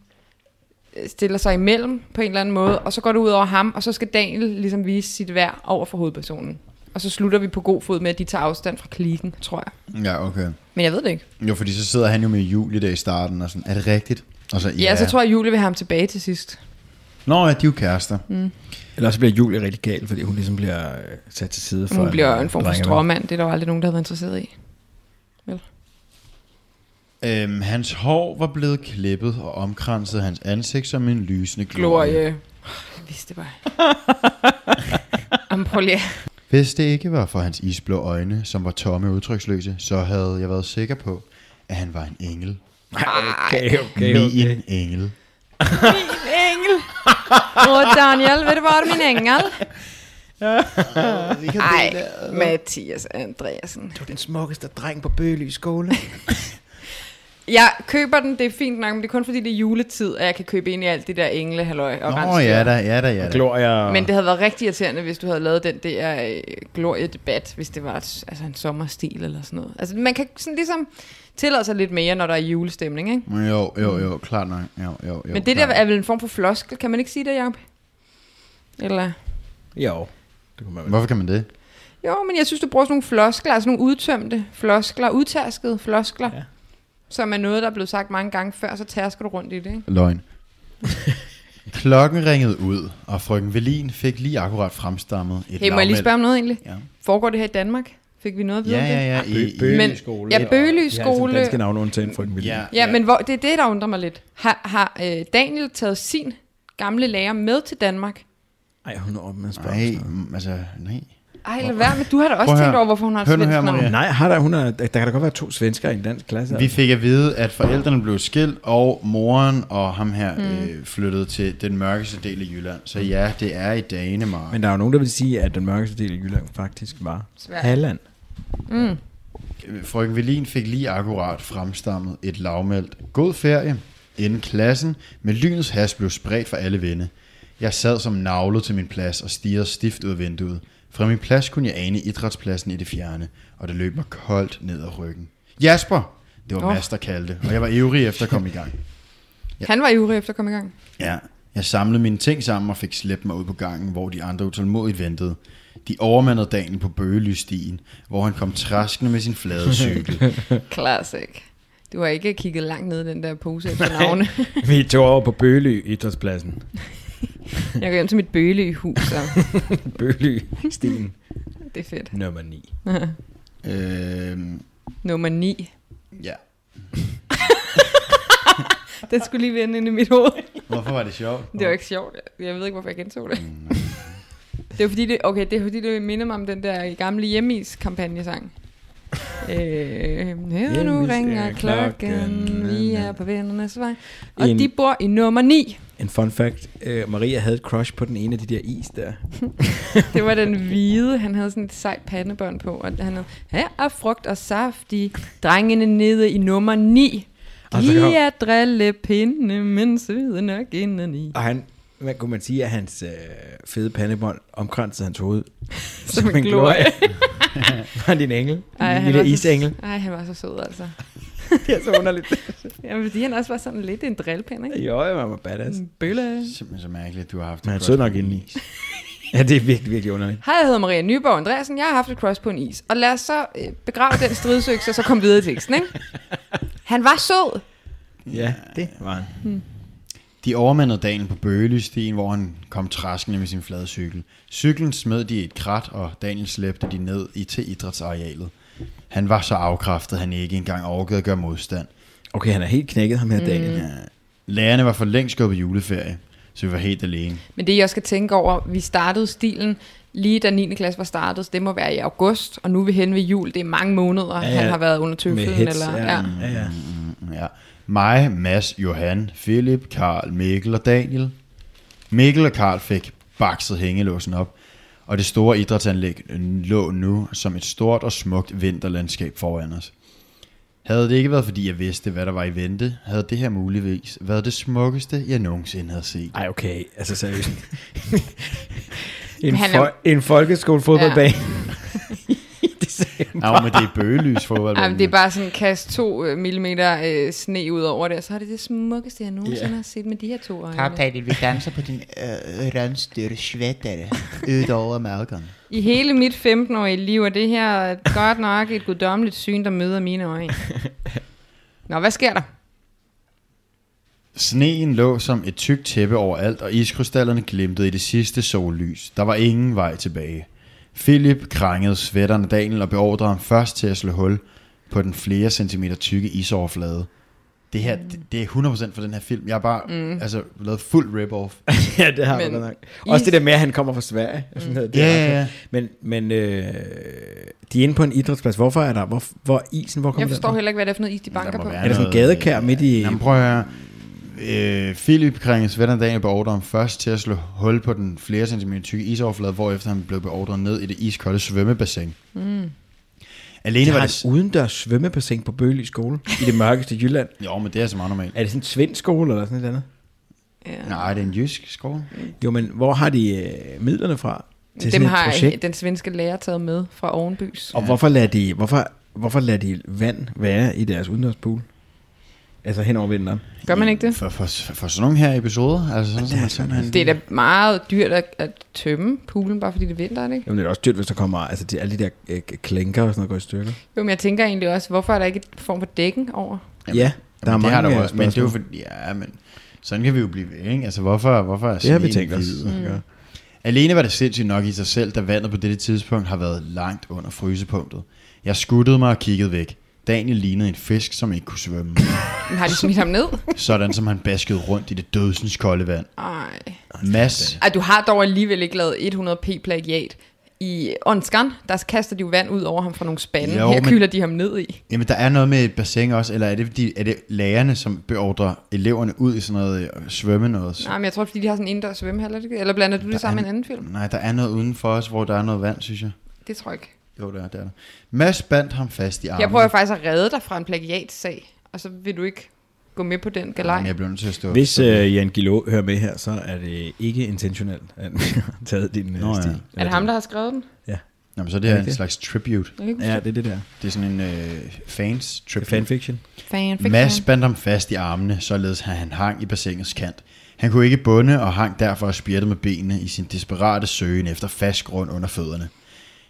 Speaker 5: øh, stiller sig imellem på en eller anden måde, og så går det ud over ham, og så skal Daniel ligesom vise sit værd over for hovedpersonen. Og så slutter vi på god fod med, at de tager afstand fra klikken, tror jeg.
Speaker 4: Ja, okay.
Speaker 5: Men jeg ved det ikke.
Speaker 4: Jo, fordi så sidder han jo med Julie der i starten og sådan, er det rigtigt? Og så, ja.
Speaker 5: Ja, ja så tror jeg, at Julie vil have ham tilbage til sidst.
Speaker 4: Nå, ja, de er jo kærester. Mm.
Speaker 6: Eller også bliver Julie rigtig gal, fordi hun ligesom bliver øh, sat til side for...
Speaker 5: Hun bliver jo en form for
Speaker 6: drengeven.
Speaker 5: stråmand. Det er der jo aldrig nogen, der har været interesseret i.
Speaker 4: Øhm, hans hår var blevet klippet og omkransede hans ansigt som en lysende glorie. glorie.
Speaker 5: Glorie. Jeg vidste det bare. Om prøv lige.
Speaker 4: Hvis det ikke var for hans isblå øjne, som var tomme og udtryksløse, så havde jeg været sikker på, at han var en engel.
Speaker 6: Okay, okay,
Speaker 4: Min
Speaker 6: okay.
Speaker 4: en engel.
Speaker 5: Min engel. Åh, Daniel, vil du være min engel? Nej, Mathias Andreasen.
Speaker 6: Du er den smukkeste dreng på Bøly skole.
Speaker 5: Jeg køber den, det er fint nok, men det er kun fordi, det er juletid, at jeg kan købe ind i alt det der englehalløj og
Speaker 4: Nå,
Speaker 5: rensdyr.
Speaker 4: ja da, ja da, ja da.
Speaker 6: Gloria.
Speaker 5: Men det havde været rigtig irriterende, hvis du havde lavet den der øh, gloriedebat, hvis det var et, altså en sommerstil eller sådan noget. Altså, man kan sådan ligesom tillade sig lidt mere, når der er julestemning, ikke?
Speaker 4: Jo, jo, jo, klart nok. Jo, jo, jo,
Speaker 5: Men det der
Speaker 4: klart.
Speaker 5: er vel en form for floskel, kan man ikke sige det, Jacob? Eller...
Speaker 6: Jo. Det kunne man vel.
Speaker 4: Hvorfor kan man det?
Speaker 5: Jo, men jeg synes, du bruger sådan nogle floskler, altså nogle udtømte floskler, udtærskede floskler,
Speaker 6: Ja.
Speaker 5: ja. som er noget, der er blevet sagt mange gange før, så tærsker du rundt i det, ikke? (laughs)
Speaker 4: Løgn. Klokken ringede ud, og frøken Velin fik lige akkurat fremstammet et
Speaker 5: Hey, må jeg lige
Speaker 4: lavmælt-
Speaker 5: spørge om noget egentlig?
Speaker 4: Ja.
Speaker 5: Foregår det her i Danmark? Fik vi noget at vide
Speaker 4: Ja,
Speaker 5: om det?
Speaker 4: ja, ja. I, i,
Speaker 5: Men- ja, Bøgely Skole.
Speaker 6: Ja, danske navn til en frygten
Speaker 4: E, ja,
Speaker 5: Ja, men hvor, det er det, der undrer mig lidt. Har, har øh, Daniel taget sin gamle lærer med til Danmark?
Speaker 6: Ej, hun er op med at spørge.
Speaker 4: Nej,
Speaker 6: om sådan
Speaker 4: mm, altså, nej.
Speaker 5: Ej, lad være med. Du har da også
Speaker 4: Prøv at
Speaker 5: tænkt
Speaker 4: høre.
Speaker 5: over, hvorfor hun har et
Speaker 4: Hør nu
Speaker 5: svensk
Speaker 4: her,
Speaker 5: navn.
Speaker 4: Maria.
Speaker 6: noget. Nej, har der, hun er, der kan da godt være to svenskere i en dansk klasse. altså.
Speaker 4: Vi fik at vide, at forældrene blev skilt, og moren og ham her øh, flyttede til den mørkeste del af Jylland. Så ja, det er i Danemark.
Speaker 6: Men der er jo nogen, der vil sige, at den mørkeste del af Jylland faktisk var
Speaker 5: Sverige.
Speaker 6: Halland.
Speaker 4: Men frøken Velin fik lige akkurat fremstammet et lavmældt god ferie inden klassen, men lynets has blev spredt for alle vinde. Jeg sad som navlet til min plads og stirrede stift ud af vinduet. Fra min plads kunne jeg ane idrætspladsen i det fjerne, og det løb mig koldt ned ad ryggen. Jasper! Det var
Speaker 5: Nå.
Speaker 4: Mads, der kaldte, og jeg var ivrig efter at komme i gang.
Speaker 5: Han var ivrig efter at komme i gang.
Speaker 4: Ja, jeg samlede mine ting sammen og fik slæbt mig ud på gangen, hvor de andre utålmodigt ventede. De overmandede dagen på Bøgelystien, hvor han kom traskende med sin
Speaker 6: (laughs)
Speaker 4: flade cykel.
Speaker 5: Classic. Du har ikke kigget langt ned i den der pose efter
Speaker 4: (laughs)
Speaker 5: navne.
Speaker 6: Vi tog over på Bøly Idrætspladsen.
Speaker 5: Jeg går hjem til mit bøle i hus, så
Speaker 6: Bøly Sten
Speaker 5: det er fedt.
Speaker 6: nummer 9.
Speaker 4: øhm,
Speaker 5: Nummer 9.
Speaker 4: ja.
Speaker 5: Den skulle lige vende ind i mit hoved.
Speaker 4: Hvorfor var det sjovt? Mm,
Speaker 5: Det var ikke sjovt. Jeg ved ikke, hvorfor jeg gentog det. Det var fordi, det, okay, det, er fordi, det minder mig om den der gamle (laughs) hjemmeis-kampagnesang. Øh, nu, nu
Speaker 6: Hjemmeis
Speaker 5: ringer
Speaker 6: er
Speaker 5: klokken,
Speaker 6: klokken,
Speaker 5: vi
Speaker 6: na, na.
Speaker 5: er på vennernes vej. Og
Speaker 6: En-
Speaker 5: de bor i nummer (laughs) 9.
Speaker 6: En fun fact, øh, Maria havde et crush på den ene af de der is der.
Speaker 5: Det var den hvide, han havde sådan et sejt pandebånd på. Og han havde, her er frugt og saft, de drengene nede i nummer 9.
Speaker 6: Og så kom-
Speaker 5: De er drillepinde, men søde nok indeni.
Speaker 6: Og han, hvad kunne man sige, at hans øh, fede pandebånd omkransede hans hoved.
Speaker 5: (laughs) Som en (laughs) glorie.
Speaker 6: var han din engel?
Speaker 5: Ej,
Speaker 6: Din
Speaker 5: han var
Speaker 6: lille
Speaker 5: så- (laughs)
Speaker 6: isengel.
Speaker 5: Ej, han var så sød altså.
Speaker 6: Det er så underligt.
Speaker 5: Jamen, fordi han også var sådan lidt en drillpind, ikke?
Speaker 6: (laughs) jo, jeg var badass.
Speaker 5: En bølle.
Speaker 4: Simpelthen så mærkeligt, at du har haft
Speaker 6: Men han
Speaker 4: et
Speaker 6: sød
Speaker 4: crush
Speaker 6: nok
Speaker 4: på en
Speaker 6: indeni.
Speaker 4: is.
Speaker 6: (laughs) Ja, det er virkelig, virkelig underligt.
Speaker 5: Hej, jeg hedder Maria Nyborg Andreasen. Jeg har haft et cross på en is. Og lad os så øh, begrave den stridsøkse, og så kom videre i teksten, ikke? (laughs) Han var sød.
Speaker 6: Ja, det var han.
Speaker 4: De overmandede dagen på Bøgelystien, hvor han kom traskende med sin flade cykel. Cyklen smed de i et krat, og Daniel slæbte de ned i til idrætsarealet. Han var så afkræftet, han ikke engang orkede at gøre modstand.
Speaker 6: Okay, han er helt knækket ham her
Speaker 5: Mm.
Speaker 6: Daniel.
Speaker 4: Lærerne var for længst gået på juleferie, så vi var helt alene.
Speaker 5: Men det, jeg skal tænke over, vi startede stilen lige da 9. klasse var startet, så det må være i august, og nu er vi hen ved jul. Det er mange måneder, ja, ja. han har været under
Speaker 6: Med
Speaker 5: tøflen.
Speaker 6: hits,
Speaker 5: Eller,
Speaker 6: ja. ja. ja.
Speaker 4: er Mm, mig, Mads, Johan, Philip, Karl, Mikkel og Daniel. Mikkel og Karl fik bakset hængelåsen op, og det store idrætsanlæg lå nu som et stort og smukt vinterlandskab foran os. Havde det ikke været fordi jeg vidste, hvad der var i vente, havde det her muligvis været det smukkeste, jeg nogensinde havde set.
Speaker 6: Ej, okay. Altså
Speaker 5: (laughs)
Speaker 6: seriøst. en,
Speaker 5: Han er-
Speaker 6: fol- en folkeskole fodboldbane. (laughs) det sagde han
Speaker 4: Ja, men det er bøgelys fodbold.
Speaker 5: Jamen, det er bare sådan, kast to øh, millimeter øh, sne ud over det, og så er det det smukkeste, jeg nogensinde yeah. har set med de her to øjne.
Speaker 7: Pap, Daniel, vi danser på din øh, randstørre svætter ud over mørkerne.
Speaker 5: I hele mit 15-årige liv er det her godt nok et guddommeligt syn, der møder mine øjne. Nå, hvad sker der?
Speaker 4: Sneen lå som et tykt tæppe overalt, og iskrystallerne glimtede i det sidste sollys. Der var ingen vej tilbage. Philip krangede svætterne Daniel og beordrede ham først til at slå hul på den flere centimeter tykke isoverflade. Det her, det, det er 100% for den her film. Jeg har bare mm. altså, lavet fuld rip-off.
Speaker 5: (laughs)
Speaker 6: ja, det har
Speaker 5: Men
Speaker 6: men du godt nok. Også
Speaker 5: is-
Speaker 6: det der med, at han kommer fra Sverige. Mm. Det er
Speaker 4: Ja,
Speaker 6: ret
Speaker 4: ja, ja.
Speaker 6: fedt. Men, men øh, de er inde på en idrætsplads. Hvorfor er der? Hvor, hvor er isen? Hvor kommer
Speaker 5: Jeg forstår
Speaker 6: den? fra?
Speaker 5: heller ikke, hvad det er for noget is, de banker
Speaker 4: må
Speaker 5: på.
Speaker 4: være
Speaker 6: Er der sådan en gadekær midt i...
Speaker 4: Jamen prøv at høre. Øh, Philip kringede Svend Daniel beordrede ham først til at slå hul på den flere centimeter tykke isoverflade, hvorefter han blev beordret ned i det iskolde svømmebassin. Mm. Alene
Speaker 6: Det
Speaker 4: var
Speaker 6: var
Speaker 4: det...
Speaker 6: et udendørs svømmebassin på Bøgely skole i det mørkeste Jylland.
Speaker 4: Jo, men det er så meget normalt.
Speaker 6: Er det sådan en svensk skole eller sådan et eller andet?
Speaker 4: Nej, det er en jysk skole.
Speaker 6: Jo, men hvor har de øh, midlerne fra til
Speaker 5: Dem
Speaker 6: sådan et
Speaker 5: har
Speaker 6: projekt?
Speaker 5: den svenske lærer taget med fra Ovenbys.
Speaker 6: Og hvorfor lader, de, hvorfor, hvorfor lader de vand være i deres udendørspool? Altså hen over vinteren.
Speaker 5: Gør man ikke det?
Speaker 4: For, for, for sådan nogle her episoder, altså sådan, som man simpelthen...
Speaker 5: Det er da meget dyrt at, at tømme poolen, bare fordi det er vinter, er det ikke?
Speaker 6: Jamen, det er også dyrt, hvis der kommer altså, de, alle de der øh, klænker og sådan noget går i stykker.
Speaker 5: Jo, men jeg tænker egentlig også, hvorfor er der ikke en form for dækken over?
Speaker 6: Jamen, ja, der er
Speaker 4: Jamen, det
Speaker 6: mange
Speaker 4: har der
Speaker 6: øh,
Speaker 4: jo også, men det er jo
Speaker 6: spørgsmål.
Speaker 4: fordi, ja, men sådan kan vi jo blive ved, ikke? Altså, hvorfor, hvorfor er
Speaker 6: det har vi
Speaker 4: sneen
Speaker 6: tænkt os. Mm.
Speaker 4: hvid?
Speaker 5: Mm.
Speaker 6: at gøre.
Speaker 4: Alene var det sindssygt nok i sig selv, da vandet på dette tidspunkt har været langt under frysepunktet. Jeg skuttede mig og kiggede væk. Daniel lignede en fisk, som ikke kunne svømme.
Speaker 5: Men har de smidt ham ned?
Speaker 4: sådan som han baskede rundt i det dødsens kolde vand.
Speaker 5: Ej.
Speaker 4: Mads,
Speaker 5: Ej, du har dog alligevel ikke lavet 100p plagiat. I Åndskan, der kaster de jo vand ud over ham fra nogle spande.
Speaker 4: Jo,
Speaker 5: Jo, Her
Speaker 4: men-
Speaker 5: men... kylder de ham ned i.
Speaker 4: jamen der er noget med et bassin også, eller er det, fordi, er det lærerne, som beordrer eleverne ud i sådan noget øh, svømme noget?
Speaker 5: Nej, men jeg tror, fordi de har sådan en indendørs svømmehal, er det ikke? Eller blander du det sammen med en anden film?
Speaker 4: Nej, der er noget udenfor os, hvor der er noget vand, synes jeg.
Speaker 5: Det tror jeg ikke.
Speaker 4: Jo, der er der. er der. Mads bandt ham fast i armen.
Speaker 5: Jeg prøver faktisk at redde dig fra en plagiatsag, og så vil du ikke gå med på den galej.
Speaker 4: Men jeg bliver nødt til at stå.
Speaker 6: Hvis
Speaker 4: stå-
Speaker 6: øh, Jan Gilo hører med her, så er det ikke intentionelt, at han har taget din øh,
Speaker 4: Nå, ja.
Speaker 6: stil.
Speaker 5: Er det ham, der har skrevet den?
Speaker 4: Nå, men så er det her en
Speaker 6: Okay.
Speaker 4: slags tribute.
Speaker 5: Jeg kan ikke
Speaker 6: Ja, det er det der.
Speaker 4: Det er sådan en øh,
Speaker 6: Det
Speaker 4: fans
Speaker 6: er
Speaker 4: tribute.
Speaker 6: fanfiction.
Speaker 5: Fanfiction.
Speaker 4: Mads bandt ham fast i armene, således at han hang i bassinets kant. Han kunne ikke bunde og hang derfor og spirte med benene i sin desperate søgen efter fast grund under fødderne.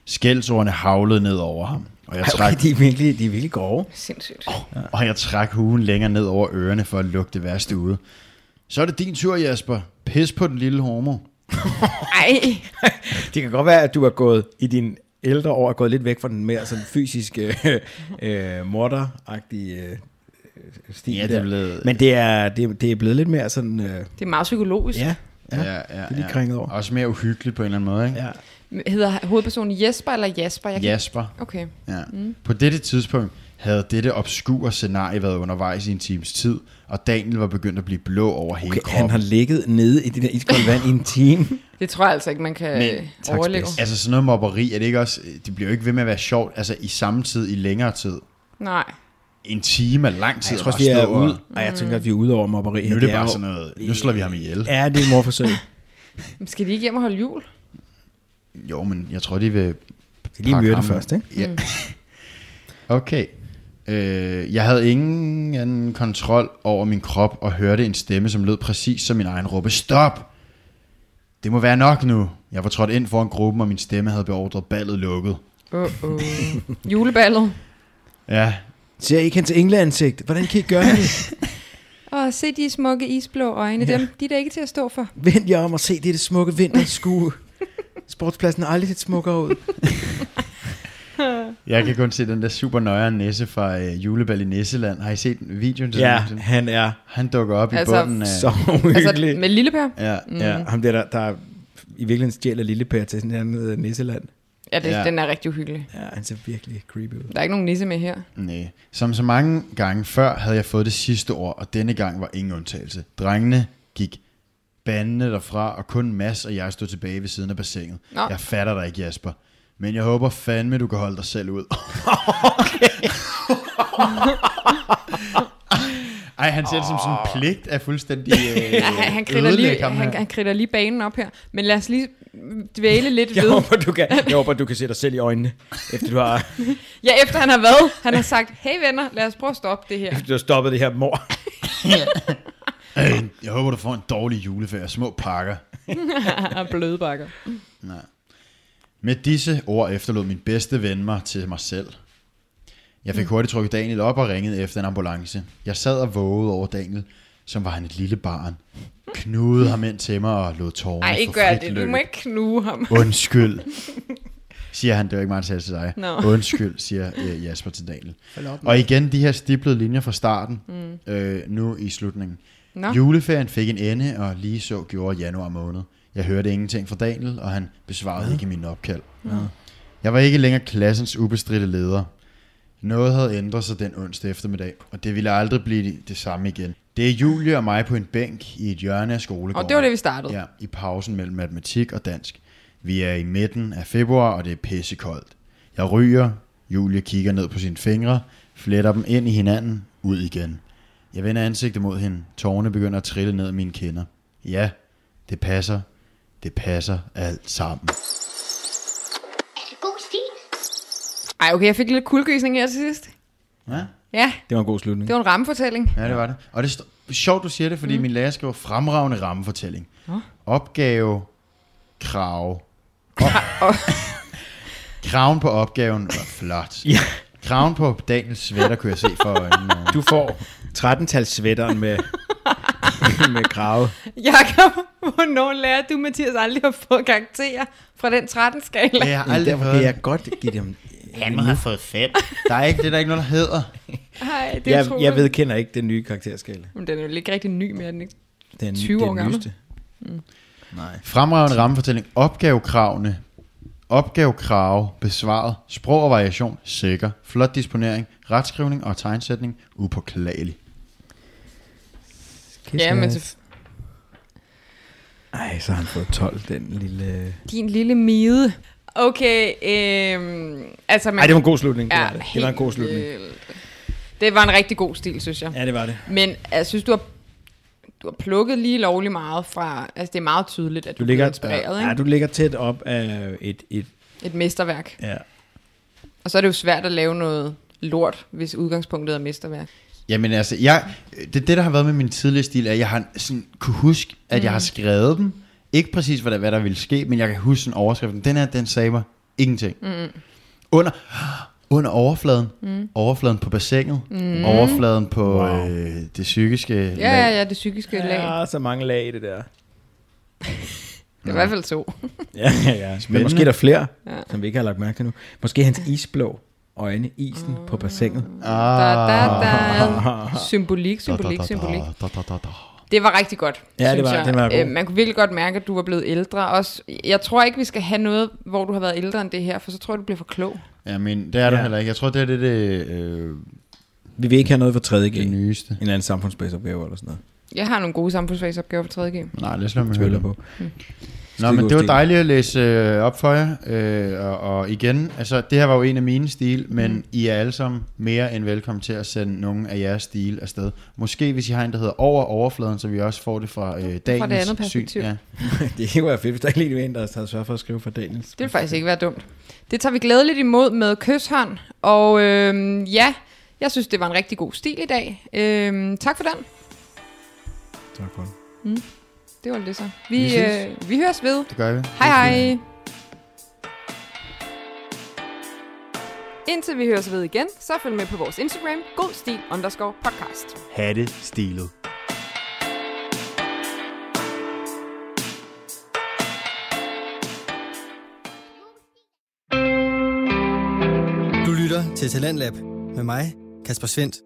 Speaker 4: Skældsordene havlede ned over ham, og jeg,
Speaker 6: (laughs) Ej,
Speaker 4: trak,
Speaker 6: Okay, de er virkelig, de er virkelig grove.
Speaker 5: Sindssygt.
Speaker 4: og jeg trak huen længere ned over ørerne for at lukke det værste ude. Så er det din tur, Jasper. Pis på den lille homo.
Speaker 5: Ej,
Speaker 6: Det kan godt være, at du er gået i din ældre år, er gået lidt væk fra den mere sådan fysiske øh, morderagtige øh, stil.
Speaker 4: Ja, det er
Speaker 6: der.
Speaker 4: blevet-
Speaker 6: Men det er, det, er- det er blevet lidt mere sådan... Øh,
Speaker 5: det er meget psykologisk.
Speaker 6: ja, ja,
Speaker 4: ja,
Speaker 6: det er lige kringet over.
Speaker 4: Også mere uhyggeligt på en eller anden måde, ikke?
Speaker 6: Ja.
Speaker 5: Hedder hovedpersonen Jesper eller Jasper? Jeg kan...
Speaker 4: Jasper.
Speaker 5: Okay.
Speaker 4: Ja. Mm. På dette tidspunkt havde dette obskure scenarie været undervejs i en times tid, og Daniel var begyndt at blive blå over hele
Speaker 6: Okay, han
Speaker 4: kroppen.
Speaker 6: har ligget nede i det der iskolde vand i en
Speaker 4: (laughs)
Speaker 6: time.
Speaker 5: Det tror jeg altså ikke, man kan
Speaker 4: Men-
Speaker 5: Men, overleve.
Speaker 4: Altså sådan noget mobberi, er det ikke også, det bliver jo ikke ved med at være sjovt, altså i samme tid, i længere tid.
Speaker 5: Nej.
Speaker 4: En time er lang tid
Speaker 6: Jeg
Speaker 4: at
Speaker 6: tror også,
Speaker 4: bare
Speaker 6: vi er
Speaker 4: stå og-
Speaker 6: ude. Ej, jeg tænker, at vi er ude over mobberi.
Speaker 4: Nu
Speaker 6: her.
Speaker 4: er det bare
Speaker 6: jo-
Speaker 4: sådan noget, nu slår vi ham ihjel.
Speaker 6: Ja, det er et morforsøg.
Speaker 5: Men Skal de ikke hjem og holde jul?
Speaker 4: Jo, men jeg tror, de vil
Speaker 6: Vi lige
Speaker 4: pakke
Speaker 6: myrde
Speaker 4: ham.
Speaker 6: først, ikke?
Speaker 4: Ja. (laughs) Okay. Øh, jeg havde ingen anden kontrol over min krop og hørte en stemme, som lød præcis som min egen råbe. Stop! Det må være nok nu. Jeg var trådt ind foran gruppen, og min stemme havde beordret ballet lukket.
Speaker 5: Uh -oh. Juleballet.
Speaker 4: Ja,
Speaker 6: Ser I ikke hans engleansigt? Hvordan kan I gøre
Speaker 4: (laughs)
Speaker 6: det?
Speaker 5: Og se de smukke isblå øjne. Dem, de er da ikke til at stå for.
Speaker 6: Vend jer om og se det smukke vinterskue. Sportspladsen er aldrig set smukkere ud.
Speaker 4: jeg kan kun se den der super nøjere næse fra øh, Julebal i Nisseland. Har I set videoen? til
Speaker 6: Ja,
Speaker 4: den?
Speaker 6: han er
Speaker 4: Han dukker op altså,
Speaker 5: Altså,
Speaker 4: i bunden af...
Speaker 6: så Mm.
Speaker 5: Altså,
Speaker 6: hyggelig.
Speaker 5: med lille Per?
Speaker 4: Ja,
Speaker 6: Mm-hmm. Ja, ham der, der, der i virkeligheden stjæler lille Per til sådan et andet øh, nisseland.
Speaker 5: ja, det,
Speaker 4: Ja.
Speaker 5: ja. den er rigtig uhyggelig.
Speaker 6: Ja, han ser virkelig creepy ud.
Speaker 5: Der er ikke nogen nisse med her.
Speaker 4: Nej. Som så mange gange før havde jeg fået det sidste ord, og denne gang var ingen undtagelse. Drengene gik bandene derfra, og kun Mads og jeg stod tilbage ved siden af bassinet.
Speaker 5: Nå.
Speaker 4: Jeg fatter dig ikke, Jasper. Men jeg håber fandme, du kan holde dig selv
Speaker 5: (laughs)
Speaker 4: ud. Ej, han ser det som sådan en pligt af fuldstændig
Speaker 5: (laughs)
Speaker 4: øh,
Speaker 5: Ja, han, han, kritter lige,
Speaker 4: ødelægge ham
Speaker 5: han,
Speaker 4: her.
Speaker 5: han kritter lige banen op her. Men lad os lige
Speaker 6: (laughs)
Speaker 5: dvæle lidt
Speaker 6: Jeg
Speaker 5: ved.
Speaker 6: håber, du
Speaker 4: (laughs)
Speaker 6: kan, jeg håber, du kan se dig selv i øjnene, efter du har,
Speaker 5: Ja, efter han har været. Han har sagt, hey venner, lad os prøve at stoppe det her.
Speaker 6: efter du har stoppet det her mor.
Speaker 4: Øh, jeg håber, du får en dårlig juleferie. Små pakker.
Speaker 5: Og blødbakker.
Speaker 4: Med disse ord efterlod min bedste ven mig til mig selv. Jeg
Speaker 5: Mm.
Speaker 4: fik hurtigt trykket Daniel op og ringede efter en ambulance. Jeg sad og vågede over Daniel, som var han et lille
Speaker 5: (laughs)
Speaker 4: barn. Knudede ham ind til mig og lod tårerne
Speaker 5: Nej, ikke
Speaker 4: få
Speaker 5: gør
Speaker 4: frit
Speaker 5: det. Du
Speaker 4: løb.
Speaker 5: må ikke knuge ham.
Speaker 4: Undskyld, siger han. Det var ikke mig, der sagde det til dig.
Speaker 5: Nå.
Speaker 4: Undskyld, siger øh, Jasper til Daniel. Og igen de her stiplede linjer fra starten, mm. øh, nu i slutningen.
Speaker 5: Nå.
Speaker 4: Juleferien fik en ende, og lige så gjorde januar måned. Jeg hørte ingenting fra Daniel, og han besvarede ikke min opkald. Jeg var ikke længere klassens ubestridte leder. Noget havde ændret sig den onsdag eftermiddag, og det ville aldrig blive det samme igen. Det er Julie og mig på en bænk i et hjørne af skolegården.
Speaker 5: Og det var det, vi startede.
Speaker 4: Ja, i pausen mellem matematik og dansk. Vi er i midten af februar, og det er pissekoldt. Jeg ryger, Julie kigger ned på sine fingre, fletter dem ind i hinanden, ud igen. Jeg vender ansigtet mod hende. Tårne begynder at trille ned af mine kinder. Ja, det passer. Det passer alt sammen.
Speaker 3: Er det god stil?
Speaker 5: Ej, okay, jeg fik lidt kuldgysning her til sidst.
Speaker 4: Ja,
Speaker 5: Ja,
Speaker 6: Det var en god slutning.
Speaker 5: det var en rammefortælling.
Speaker 4: ja det var det. Og det er st- sjovt, du siger det, fordi mm. min lærer skriver fremragende rammefortælling.
Speaker 5: Nå.
Speaker 4: Opgave, krav. (laughs) Kraven på opgaven var flot.
Speaker 6: Ja.
Speaker 4: Kraven på Daniels svætter kunne jeg se for øjnene.
Speaker 6: Du får 13-tals sweateren (laughs) med, med krave.
Speaker 5: Jakob, hvornår lærer du, Mathias, aldrig at få karakterer fra den 13-skala?
Speaker 4: Det har jeg aldrig
Speaker 6: Derfor kan
Speaker 4: fået.
Speaker 6: jeg godt give (laughs) dem...
Speaker 7: Han må have fået fem.
Speaker 4: Der er ikke, det er der ikke noget, der hedder.
Speaker 5: Nej, det er
Speaker 6: Jeg,
Speaker 5: utroligt.
Speaker 6: jeg vedkender ikke den nye karakterskala.
Speaker 5: Men den er jo ikke rigtig ny mere, den ikke?
Speaker 6: Den,
Speaker 5: 20 år
Speaker 6: den
Speaker 5: gammel.
Speaker 6: nyeste. Nej.
Speaker 4: Fremragende rammefortælling. Opgavekravene. Opgavekrav besvaret. Sprog og variation. Sikker. Flot disponering. Retskrivning og tegnsætning. Upåklagelig.
Speaker 5: Ja, men til
Speaker 6: øh, Ej, så har han fået 12, den lille...
Speaker 5: din lille mide. Okay, øhm, altså... Man,
Speaker 6: Ej, det var en god slutning. Det, var, det. det var en
Speaker 5: helt
Speaker 6: god slutning.
Speaker 5: vildt. Det var en rigtig god stil, synes jeg.
Speaker 6: Ja, det var det.
Speaker 5: Men jeg synes, du har, du har plukket lige lovlig meget fra... Altså, det er meget tydeligt, at du,
Speaker 6: Du
Speaker 5: du
Speaker 6: ligger,
Speaker 5: bliver inspireret,
Speaker 6: ja,
Speaker 5: ikke?
Speaker 6: du ligger tæt op af et... et
Speaker 5: Et mesterværk.
Speaker 6: ja.
Speaker 5: Og så er det jo svært at lave noget lort, hvis udgangspunktet er mesterværk.
Speaker 4: Jamen altså, jeg, det, er det der har været med min tidligere stil, er, at jeg har sådan, kunne huske, at mm. jeg har skrevet dem. Ikke præcis, hvad der, hvad der ville ske, men jeg kan huske sådan overskriften. Den her, den sagde mig ingenting. Mm. Under, under overfladen. Mm. Overfladen på bassinet. Mm. Overfladen på wow. øh, det psykiske
Speaker 5: Ja, ja, ja, det psykiske lag.
Speaker 6: Der er Ah, så mange lag i det der.
Speaker 5: Det er i hvert fald to.
Speaker 6: Ja, ja, ja. Men måske er der flere, ja. som vi ikke har lagt mærke til nu. Måske er hans isblå øjne, isen på bassinet.
Speaker 4: Ah.
Speaker 5: Der, der, der
Speaker 6: Ah.
Speaker 5: er symbolik, symbolik, symbolik.
Speaker 4: Da, da, da, da.
Speaker 5: Det var rigtig godt,
Speaker 6: Ja, det
Speaker 5: synes
Speaker 6: var-
Speaker 5: jeg.
Speaker 6: den var god.
Speaker 5: Øh, Man kunne virkelig godt mærke, at du var blevet ældre. Også, jeg tror ikke, vi skal have noget, hvor du har været ældre end det her, for så tror jeg, du bliver for klog.
Speaker 4: Ja, men det er du
Speaker 6: Ja.
Speaker 4: heller ikke. Jeg tror, det er det, det, øh,
Speaker 6: Vi vil ikke have noget for 3. G.
Speaker 4: det
Speaker 6: En
Speaker 4: nyeste.
Speaker 6: eller anden samfundsbaseopgave eller sådan noget.
Speaker 5: Jeg har nogle gode samfundsfagsopgaver på 3.G.
Speaker 4: Nej, lad os lade mig høre
Speaker 6: Tvivler
Speaker 4: det.
Speaker 6: på.
Speaker 5: Hm.
Speaker 4: Nå, men
Speaker 6: god
Speaker 4: det var
Speaker 6: stil.
Speaker 4: dejligt at læse øh, op for jer. Øh, og, og igen, altså, det her var jo en af mine stil, men mm. I er alle sammen mere end velkommen til at sende nogle af jeres stil afsted. Måske hvis I har en, der hedder over overfladen, så vi også får det fra øh, dagens
Speaker 5: andet perspektiv.
Speaker 4: Syn. Ja.
Speaker 6: (laughs) Det kunne være fedt, hvis der ikke lige var en, der havde sørget for at skrive for Daniels.
Speaker 5: Det vil faktisk ikke være dumt. Det tager vi glædeligt imod med kysshånd. Og øhm, ja, jeg synes, det var en rigtig god stil i dag. Øhm, tak for den.
Speaker 6: Tak for det.
Speaker 5: Det var det så.
Speaker 4: Vi
Speaker 5: Vi,
Speaker 4: ses.
Speaker 5: øh, vi høres ved.
Speaker 4: Det gør vi.
Speaker 5: Hej hej. Indtil vi høres ved igen, så følg med på vores Instagram, godstil underscore podcast.
Speaker 7: Ha' det stilet.
Speaker 1: Du lytter til Talentlab med mig, Kasper Svendt.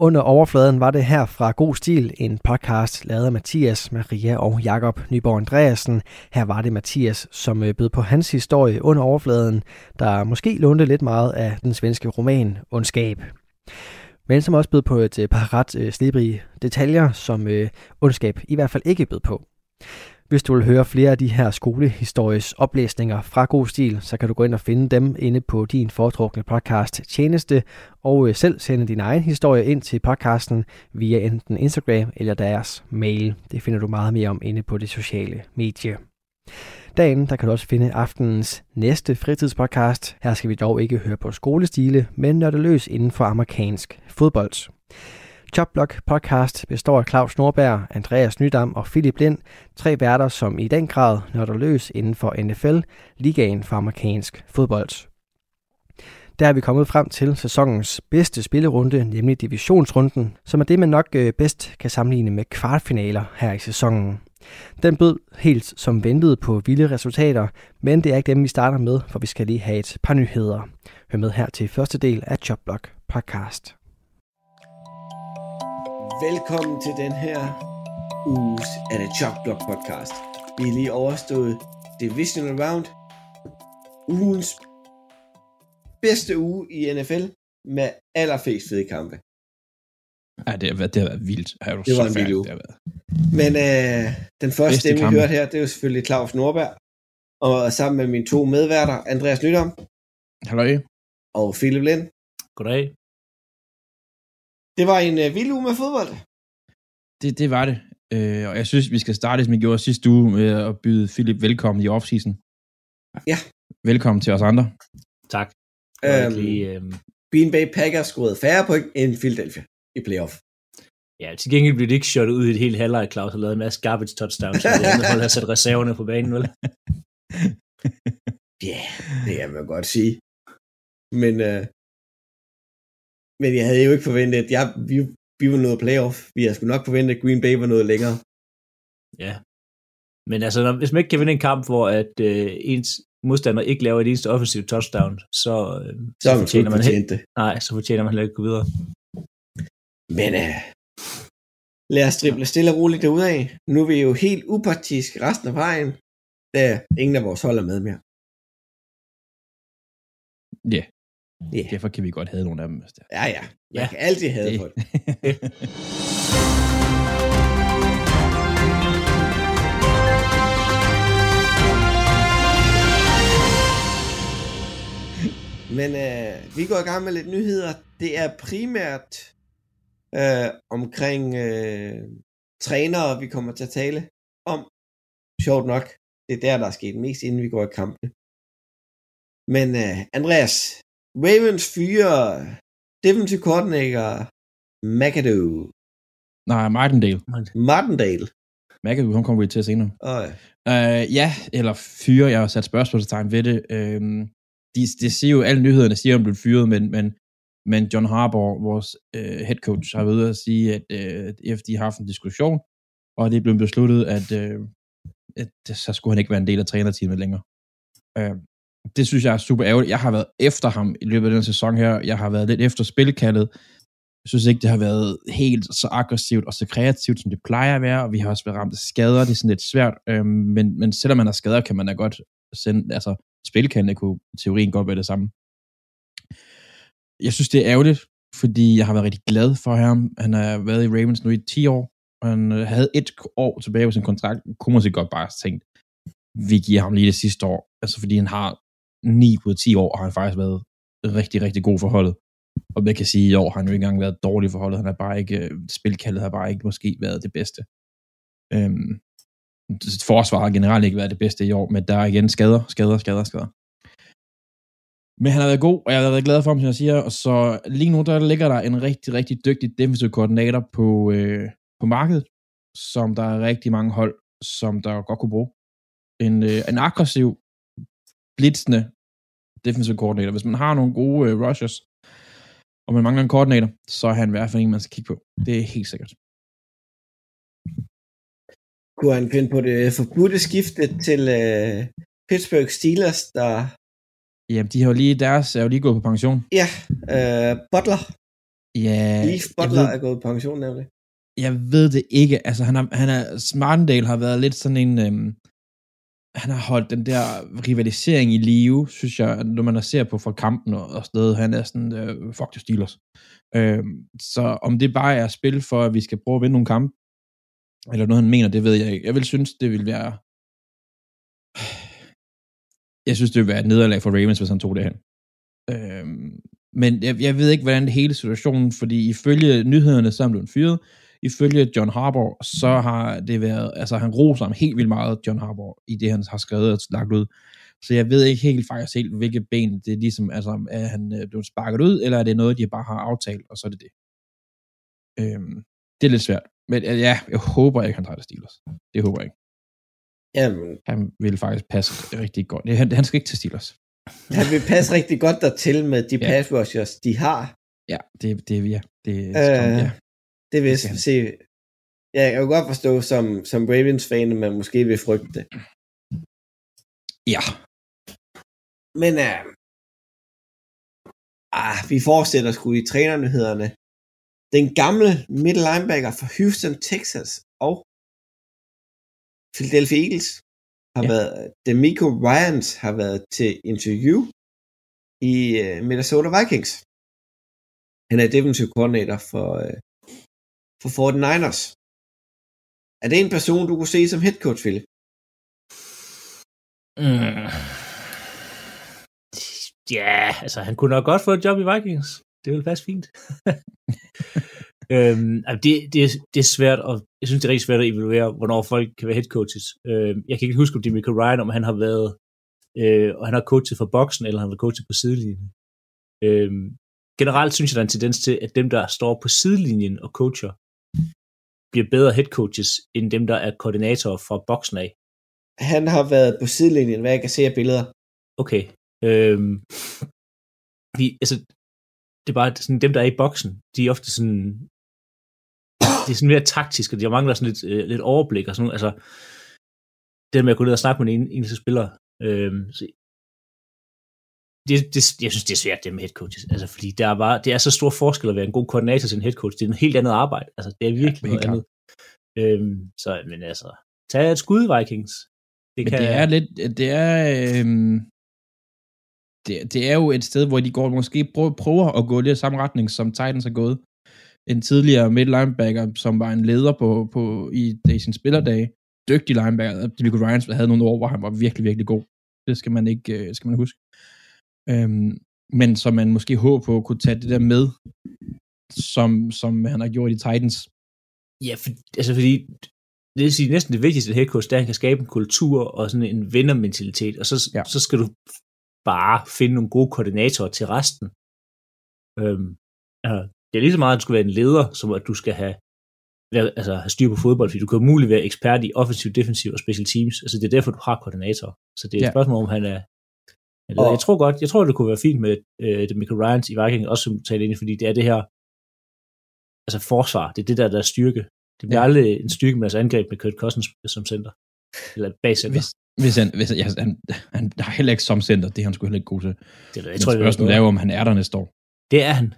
Speaker 2: Under overfladen var det her fra God Stil, en podcast lavet af Mathias, Maria og Jakob Nyborg Andreasen. Her var det Mathias, som øh, bød på hans historie under overfladen, der måske lånte lidt meget af den svenske roman Ondskab. Men som også bød på et øh, par ret øh, slibrige detaljer, som øh, Ondskab i hvert fald ikke bød på. Hvis du vil høre flere af de her skolehistories oplæsninger fra God Stil, så kan du gå ind og finde dem inde på din foretrukne podcast Tjeneste, og øh, selv sende din egen historie ind til podcasten via enten Instagram eller deres mail. Det finder du meget mere om inde på det sociale medie. Derinde der kan du også finde aftenens næste fritidspodcast. Her skal vi dog ikke høre på skolestile, men nørde løs inden for amerikansk fodbold. Chopblock podcast består af Claus Norberg, Andreas Nydam og Philip Lind, tre værter, som i den grad nørder løs inden for NFL, ligaen for amerikansk fodbold. Der er vi kommet frem til sæsonens bedste spillerunde, nemlig divisionsrunden, som er det, man nok øh, bedst kan sammenligne med kvartfinaler her i sæsonen. Den bød helt som ventet på vilde resultater, men det er ikke dem, vi starter med, for vi skal lige have et par nyheder. Hør med her til første del af Chopblock podcast.
Speaker 8: Velkommen til den her uges af The Chop Block Podcast. Vi er lige overstået Divisional Round. Ugens bedste uge i NFL med allerflest fede kampe.
Speaker 9: Ja, det har været, det har været vildt. Er du
Speaker 8: Det
Speaker 9: så
Speaker 8: var en vild
Speaker 9: færdig,
Speaker 8: uge.
Speaker 9: det har været.
Speaker 8: Men øh, den første
Speaker 9: Bedste
Speaker 8: stemme, vi
Speaker 9: kampe.
Speaker 8: hørte her, det er jo selvfølgelig Claus Norberg. Og sammen med mine to medværter, Andreas Nydam
Speaker 9: Hallo.
Speaker 8: og Philip Lind.
Speaker 10: Goddag.
Speaker 8: Det var en øh, vild uge med fodbold.
Speaker 9: Det, det var det. Øh, og jeg synes, vi skal starte, som vi gjorde sidste uge, med at byde Philip velkommen i offseason.
Speaker 8: Ja.
Speaker 9: Velkommen til os andre.
Speaker 10: Tak.
Speaker 8: Øhm,
Speaker 10: Øhm. Lige, øhm,
Speaker 8: Bean Bay Packers scorede færre point end Philadelphia i playoff.
Speaker 10: ja, til gengæld blev det ikke shot ud i et helt halvleg, Claus har lavet en masse garbage touchdowns, og det andet hold har
Speaker 8: (laughs)
Speaker 10: sat reserverne på banen, vel?
Speaker 8: Ja, yeah, det kan man godt sige. Men, øh, men jeg havde jo ikke forventet, at jeg, vi, vi var noget playoff. Vi havde sgu nok forventet, at Green Bay var noget længere.
Speaker 10: Ja. Men altså, når, hvis man ikke kan vinde en kamp, hvor at øh, ens modstander ikke laver et eneste offensivt touchdown, så, øh,
Speaker 8: Så har man sgu ikke
Speaker 10: heller,
Speaker 8: fortjent det.
Speaker 10: nej, så fortjener man heller ikke at gå videre.
Speaker 8: Men øh, lad os drible stille og roligt derudad. Nu er vi jo helt upartisk resten af vejen, da ingen af vores hold er med mere.
Speaker 9: Ja.
Speaker 8: Ja.
Speaker 9: Derfor kan vi godt have nogle af dem. hvis det er.
Speaker 8: Ja, ja. Man
Speaker 10: Ja,
Speaker 8: kan altid have
Speaker 9: det-
Speaker 8: folk. Men øh, vi går i gang med lidt nyheder. Det er primært øh, omkring øh, trænere, vi kommer til at tale om. Sjovt nok, det er der, der er sket mest, inden vi går i kampene. Men øh, Andreas, Ravens fyrer defensive coordinator McAdoo,
Speaker 9: Nej, Martindale.
Speaker 8: Martindale.
Speaker 9: Martindale, hun kommer vi til senere.
Speaker 8: Og,
Speaker 9: Øh, ja, eller fyre. Jeg har sat spørgsmålstegn ved det. Øh, de, de siger jo, alle nyhederne siger, at han blev fyret, men, men, men John Harbaugh, vores øh, head coach, har været ude at sige, at øh, efter de har haft en diskussion, og det er blevet besluttet, at, øh, at det- så skulle han ikke være en del af trænerteamet længere. Øh, det synes jeg er super ærgerligt. Jeg har været efter ham i løbet af den sæson her. Jeg har været lidt efter spilkaldet. Jeg synes ikke, det har været helt så aggressivt og så kreativt, som det plejer at være, og vi har også været ramt af skader, det er sådan lidt svært, øhm, men, men selvom man har skader, kan man da godt sende, altså spilkaldene kunne i teorien godt være det samme. Jeg synes, det er ærgerligt, fordi jeg har været rigtig glad for ham. Han har været i Ravens nu i 10 år, og han øh, havde et år tilbage på sin kontrakt, kunne man sig godt bare have tænkt, vi giver ham lige det sidste år, altså fordi han har 9 ud af 10 år, og han har faktisk været rigtig, rigtig god for holdet. Og man kan sige, at i år har han jo ikke engang været dårlig for holdet. Han har bare ikke, øh, spilkaldet har bare ikke måske været det bedste. Øhm, forsvaret har generelt ikke været det bedste i år, men der er igen skader, skader, skader, skader. Men han har været god, og jeg har været glad for ham, som jeg siger. Og så lige nu, der ligger der en rigtig, rigtig dygtig defensive koordinator på, øh, på markedet, som der er rigtig mange hold, som der godt kunne bruge. En, øh, en aggressiv, blitzende defensive koordinator. Hvis man har nogle gode øh, rushers, og man mangler en koordinator, så er han i hvert fald en, man skal kigge på. Det er helt sikkert.
Speaker 8: kunne han finde på det forbudte skifte til øh, Pittsburgh Steelers, der
Speaker 9: Jamen, de har jo lige, deres er jo lige gået på pension.
Speaker 8: øh, Butler
Speaker 6: Ja,
Speaker 8: Leaf
Speaker 6: jeg
Speaker 8: Butler
Speaker 6: ved,
Speaker 8: er gået i pension nemlig.
Speaker 6: jeg ved det ikke. Altså, han har, han er, Smartendale har været lidt sådan en... Øhm, han har holdt den der rivalisering i live, synes jeg, når man ser på fra kampen og, og sted. Han er sådan, øh, fuck the Steelers. Øhm, så om det bare er at spille for, at vi skal prøve at vinde nogle kampe, eller noget, han mener, det ved jeg ikke. Jeg vil synes, det vil være... Jeg synes, det vil være et nederlag for Ravens, hvis han tog det hen. Øhm, men jeg, jeg ved ikke, hvordan hele situationen, fordi ifølge nyhederne, så er han blevet fyret. Ifølge John Harbour, så har det været, altså han roser ham helt vildt meget, John Harbour, i det, han har skrevet og lagt ud. Så jeg ved ikke helt faktisk helt, hvilke ben det er ligesom, altså er han øh, blevet sparket ud, eller er det noget, de bare har aftalt, og så er det det. Øhm, det er lidt svært. Men øh, ja, jeg håber ikke, han tager det Steelers. Det håber jeg ikke.
Speaker 8: Jamen,
Speaker 6: Han vil faktisk passe rigtig godt. Han, han skal ikke til Steelers.
Speaker 8: han vil passe rigtig godt dertil med de
Speaker 6: Ja.
Speaker 8: pass rushers, de har.
Speaker 6: Ja, det, det, ja, det,
Speaker 8: Øh,
Speaker 6: ja.
Speaker 8: Det vil jeg
Speaker 6: Det kan
Speaker 8: se. Ja, jeg kan godt forstå, som, som Ravens-fan, at man måske vil frygte det.
Speaker 6: ja.
Speaker 8: Men uh, ah, vi fortsætter sgu i trænernyhederne. Den gamle middle linebacker fra Houston, Texas og Philadelphia Eagles har
Speaker 6: Ja.
Speaker 8: ja. været, Demico Ryans har været til interview i uh, Minnesota Vikings. Han er defensive koordinator for, uh, for 49ers. Er det en person, du kunne se som head coach, Philip?
Speaker 10: Mm. Ja, altså han kunne nok godt få et job i Vikings. Det ville passe fint. (laughs) øhm, altså, det, det, er- det er svært, og jeg synes, det er rigtig svært at evaluere, hvornår folk kan være head coaches. Øhm, jeg kan ikke huske, om det er Michael Ryan, om han har været, øh, og han har coachet for boksen, eller han har coachet på sidelinjen. Øhm, generelt synes jeg, der er en tendens til, at dem, der står på sidelinjen og coacher, bliver bedre head coaches, end dem, der er koordinatorer fra boksen af.
Speaker 8: Han har været på sidelinjen, hvad jeg kan se af billeder.
Speaker 10: okay. Øhm, vi, altså, det er bare sådan, dem, der er i boksen, de er ofte sådan, de er sådan mere taktiske, de mangler sådan lidt, øh, lidt overblik og sådan noget. Altså, det der med at gå ned og snakke med en eneste spiller, øhm, så, det, det, jeg synes, det er svært, det med head coaches. Altså, fordi der er bare, det er så stor forskel at være en god koordinator til en head coach. Det er en helt andet arbejde. Altså, det er virkelig ja,
Speaker 6: helt
Speaker 10: noget andet. Øhm, så, men altså, tag et skud, Vikings. Det
Speaker 6: Men det er lidt, det er, øhm, det, det er jo et sted, hvor de går, måske prø- prøver at gå lidt i samme retning, som Titans er gået. En tidligere midt linebacker, som var en leder på, på i, i sin spillerdage, dygtig linebacker, Demico Ryans havde nogle år, hvor han var virkelig, virkelig god. Det skal man ikke, øh, skal man huske. Øhm, men som man måske håber på kunne tage det der med, som, som han har gjort i Titans.
Speaker 10: Ja, for, altså fordi, det vil sige, næsten det vigtigste ved head coach, det er, at han kan skabe en kultur og sådan en vindermentalitet, og så,
Speaker 6: Ja.
Speaker 10: ja. så skal du bare finde nogle gode koordinatorer til resten. Øhm, altså, det er lige så meget, at du skal være en leder, som at du skal have, være- altså, have styr på fodbold, fordi du kan umuligt være ekspert i offensiv, defensiv og special teams. Altså, det er derfor, du har koordinator. Så det er et
Speaker 6: Ja.
Speaker 10: ja. spørgsmål, om han er... Eller,
Speaker 8: Og-
Speaker 10: jeg tror godt, jeg tror, det kunne være fint med øh, det Michael Ryans i Viking, også som du talte ind i, fordi det er det her altså forsvar, det er det der, der er styrke. Det bliver
Speaker 6: Ja.
Speaker 10: ja. aldrig en styrke med deres angreb med Kurt Cousins som center. Eller bagcenter.
Speaker 6: Hvis, hvis han, hvis, ja, han, han, han er heller ikke som center, det er han sgu heller ikke god til.
Speaker 10: Det, er-
Speaker 6: Jeg tror, spørgsmålet er jo, om han er der næste år.
Speaker 10: Det er han.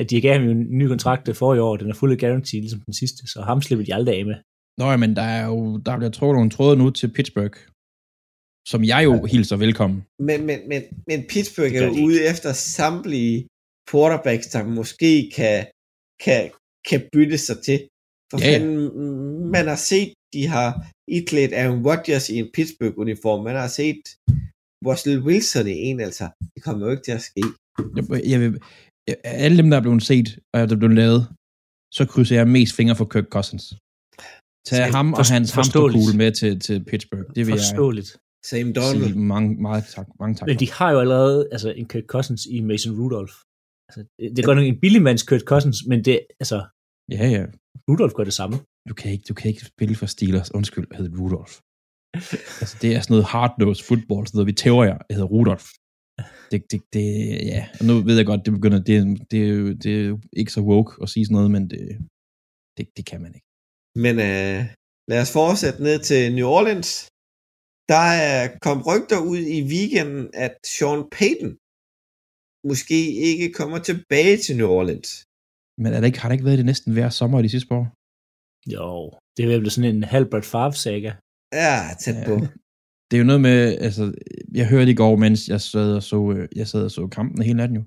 Speaker 10: At de gav ham jo en ny kontrakt det forrige år, den er fuld af guarantee, ligesom den sidste, så ham slipper de aldrig af med.
Speaker 6: Nå, ja, men der er jo, der bliver trukket nogle tråde nu til Pittsburgh, som jeg jo hilser velkommen.
Speaker 8: Men, men, men, men Pittsburgh
Speaker 10: Det
Speaker 8: er
Speaker 10: gør
Speaker 8: jo
Speaker 10: de ikke.
Speaker 8: ude efter samtlige quarterbacks, der måske kan, kan, kan bytte sig til. For
Speaker 6: Ja,
Speaker 8: ja,
Speaker 6: ja.
Speaker 8: ja. Fanden, man har set, de har iklædt Aaron Rodgers i en Pittsburgh-uniform. Man har set Russell Wilson i en, altså. Det kommer jo ikke til at ske.
Speaker 6: Jeg, jeg vil, jeg, alle dem, der er blevet set, og der er blevet lavet, så krydser jeg mest fingre for Kirk Cousins. Tag
Speaker 10: Selv-
Speaker 6: ham og
Speaker 10: forst-
Speaker 6: hans
Speaker 10: forståeligt.
Speaker 6: hamsterkugle med til, til Pittsburgh. Det vil jeg
Speaker 10: Forståeligt.
Speaker 8: Sam
Speaker 6: sige
Speaker 8: Donald.
Speaker 6: mange, meget tak, mange tak
Speaker 10: Men de
Speaker 6: for.
Speaker 10: har jo allerede altså, en Kurt Cousins i Mason Rudolph. Altså, det det er godt nok en billigmands Kurt Cousins, men det, altså,
Speaker 6: Ja, ja.
Speaker 10: Rudolph gør det samme.
Speaker 6: Du kan, ikke, du kan ikke spille for Steelers. Undskyld, jeg hedder Rudolf. altså, det er sådan noget hard-nosed football, sådan noget, vi tæver jer. Jeg hedder Rudolf. Det, det, det, ja. Og nu ved jeg godt, det begynder, det, det, er jo- det er jo ikke så woke at sige sådan noget, men det, det, det kan man ikke.
Speaker 8: Men øh, lad os fortsætte ned til New Orleans. Der er kom rygter ud i weekenden, at Sean Payton måske ikke kommer tilbage til New Orleans.
Speaker 6: Men er der ikke, har der ikke været det næsten hver sommer i de sidste par år?
Speaker 10: Jo, det er vel sådan en Halbert Favre-saga.
Speaker 8: Ja, tæt på.
Speaker 6: Det er jo noget med, altså, jeg hørte i går, mens jeg sad og så, øh, jeg sad og så kampen hele natten jo,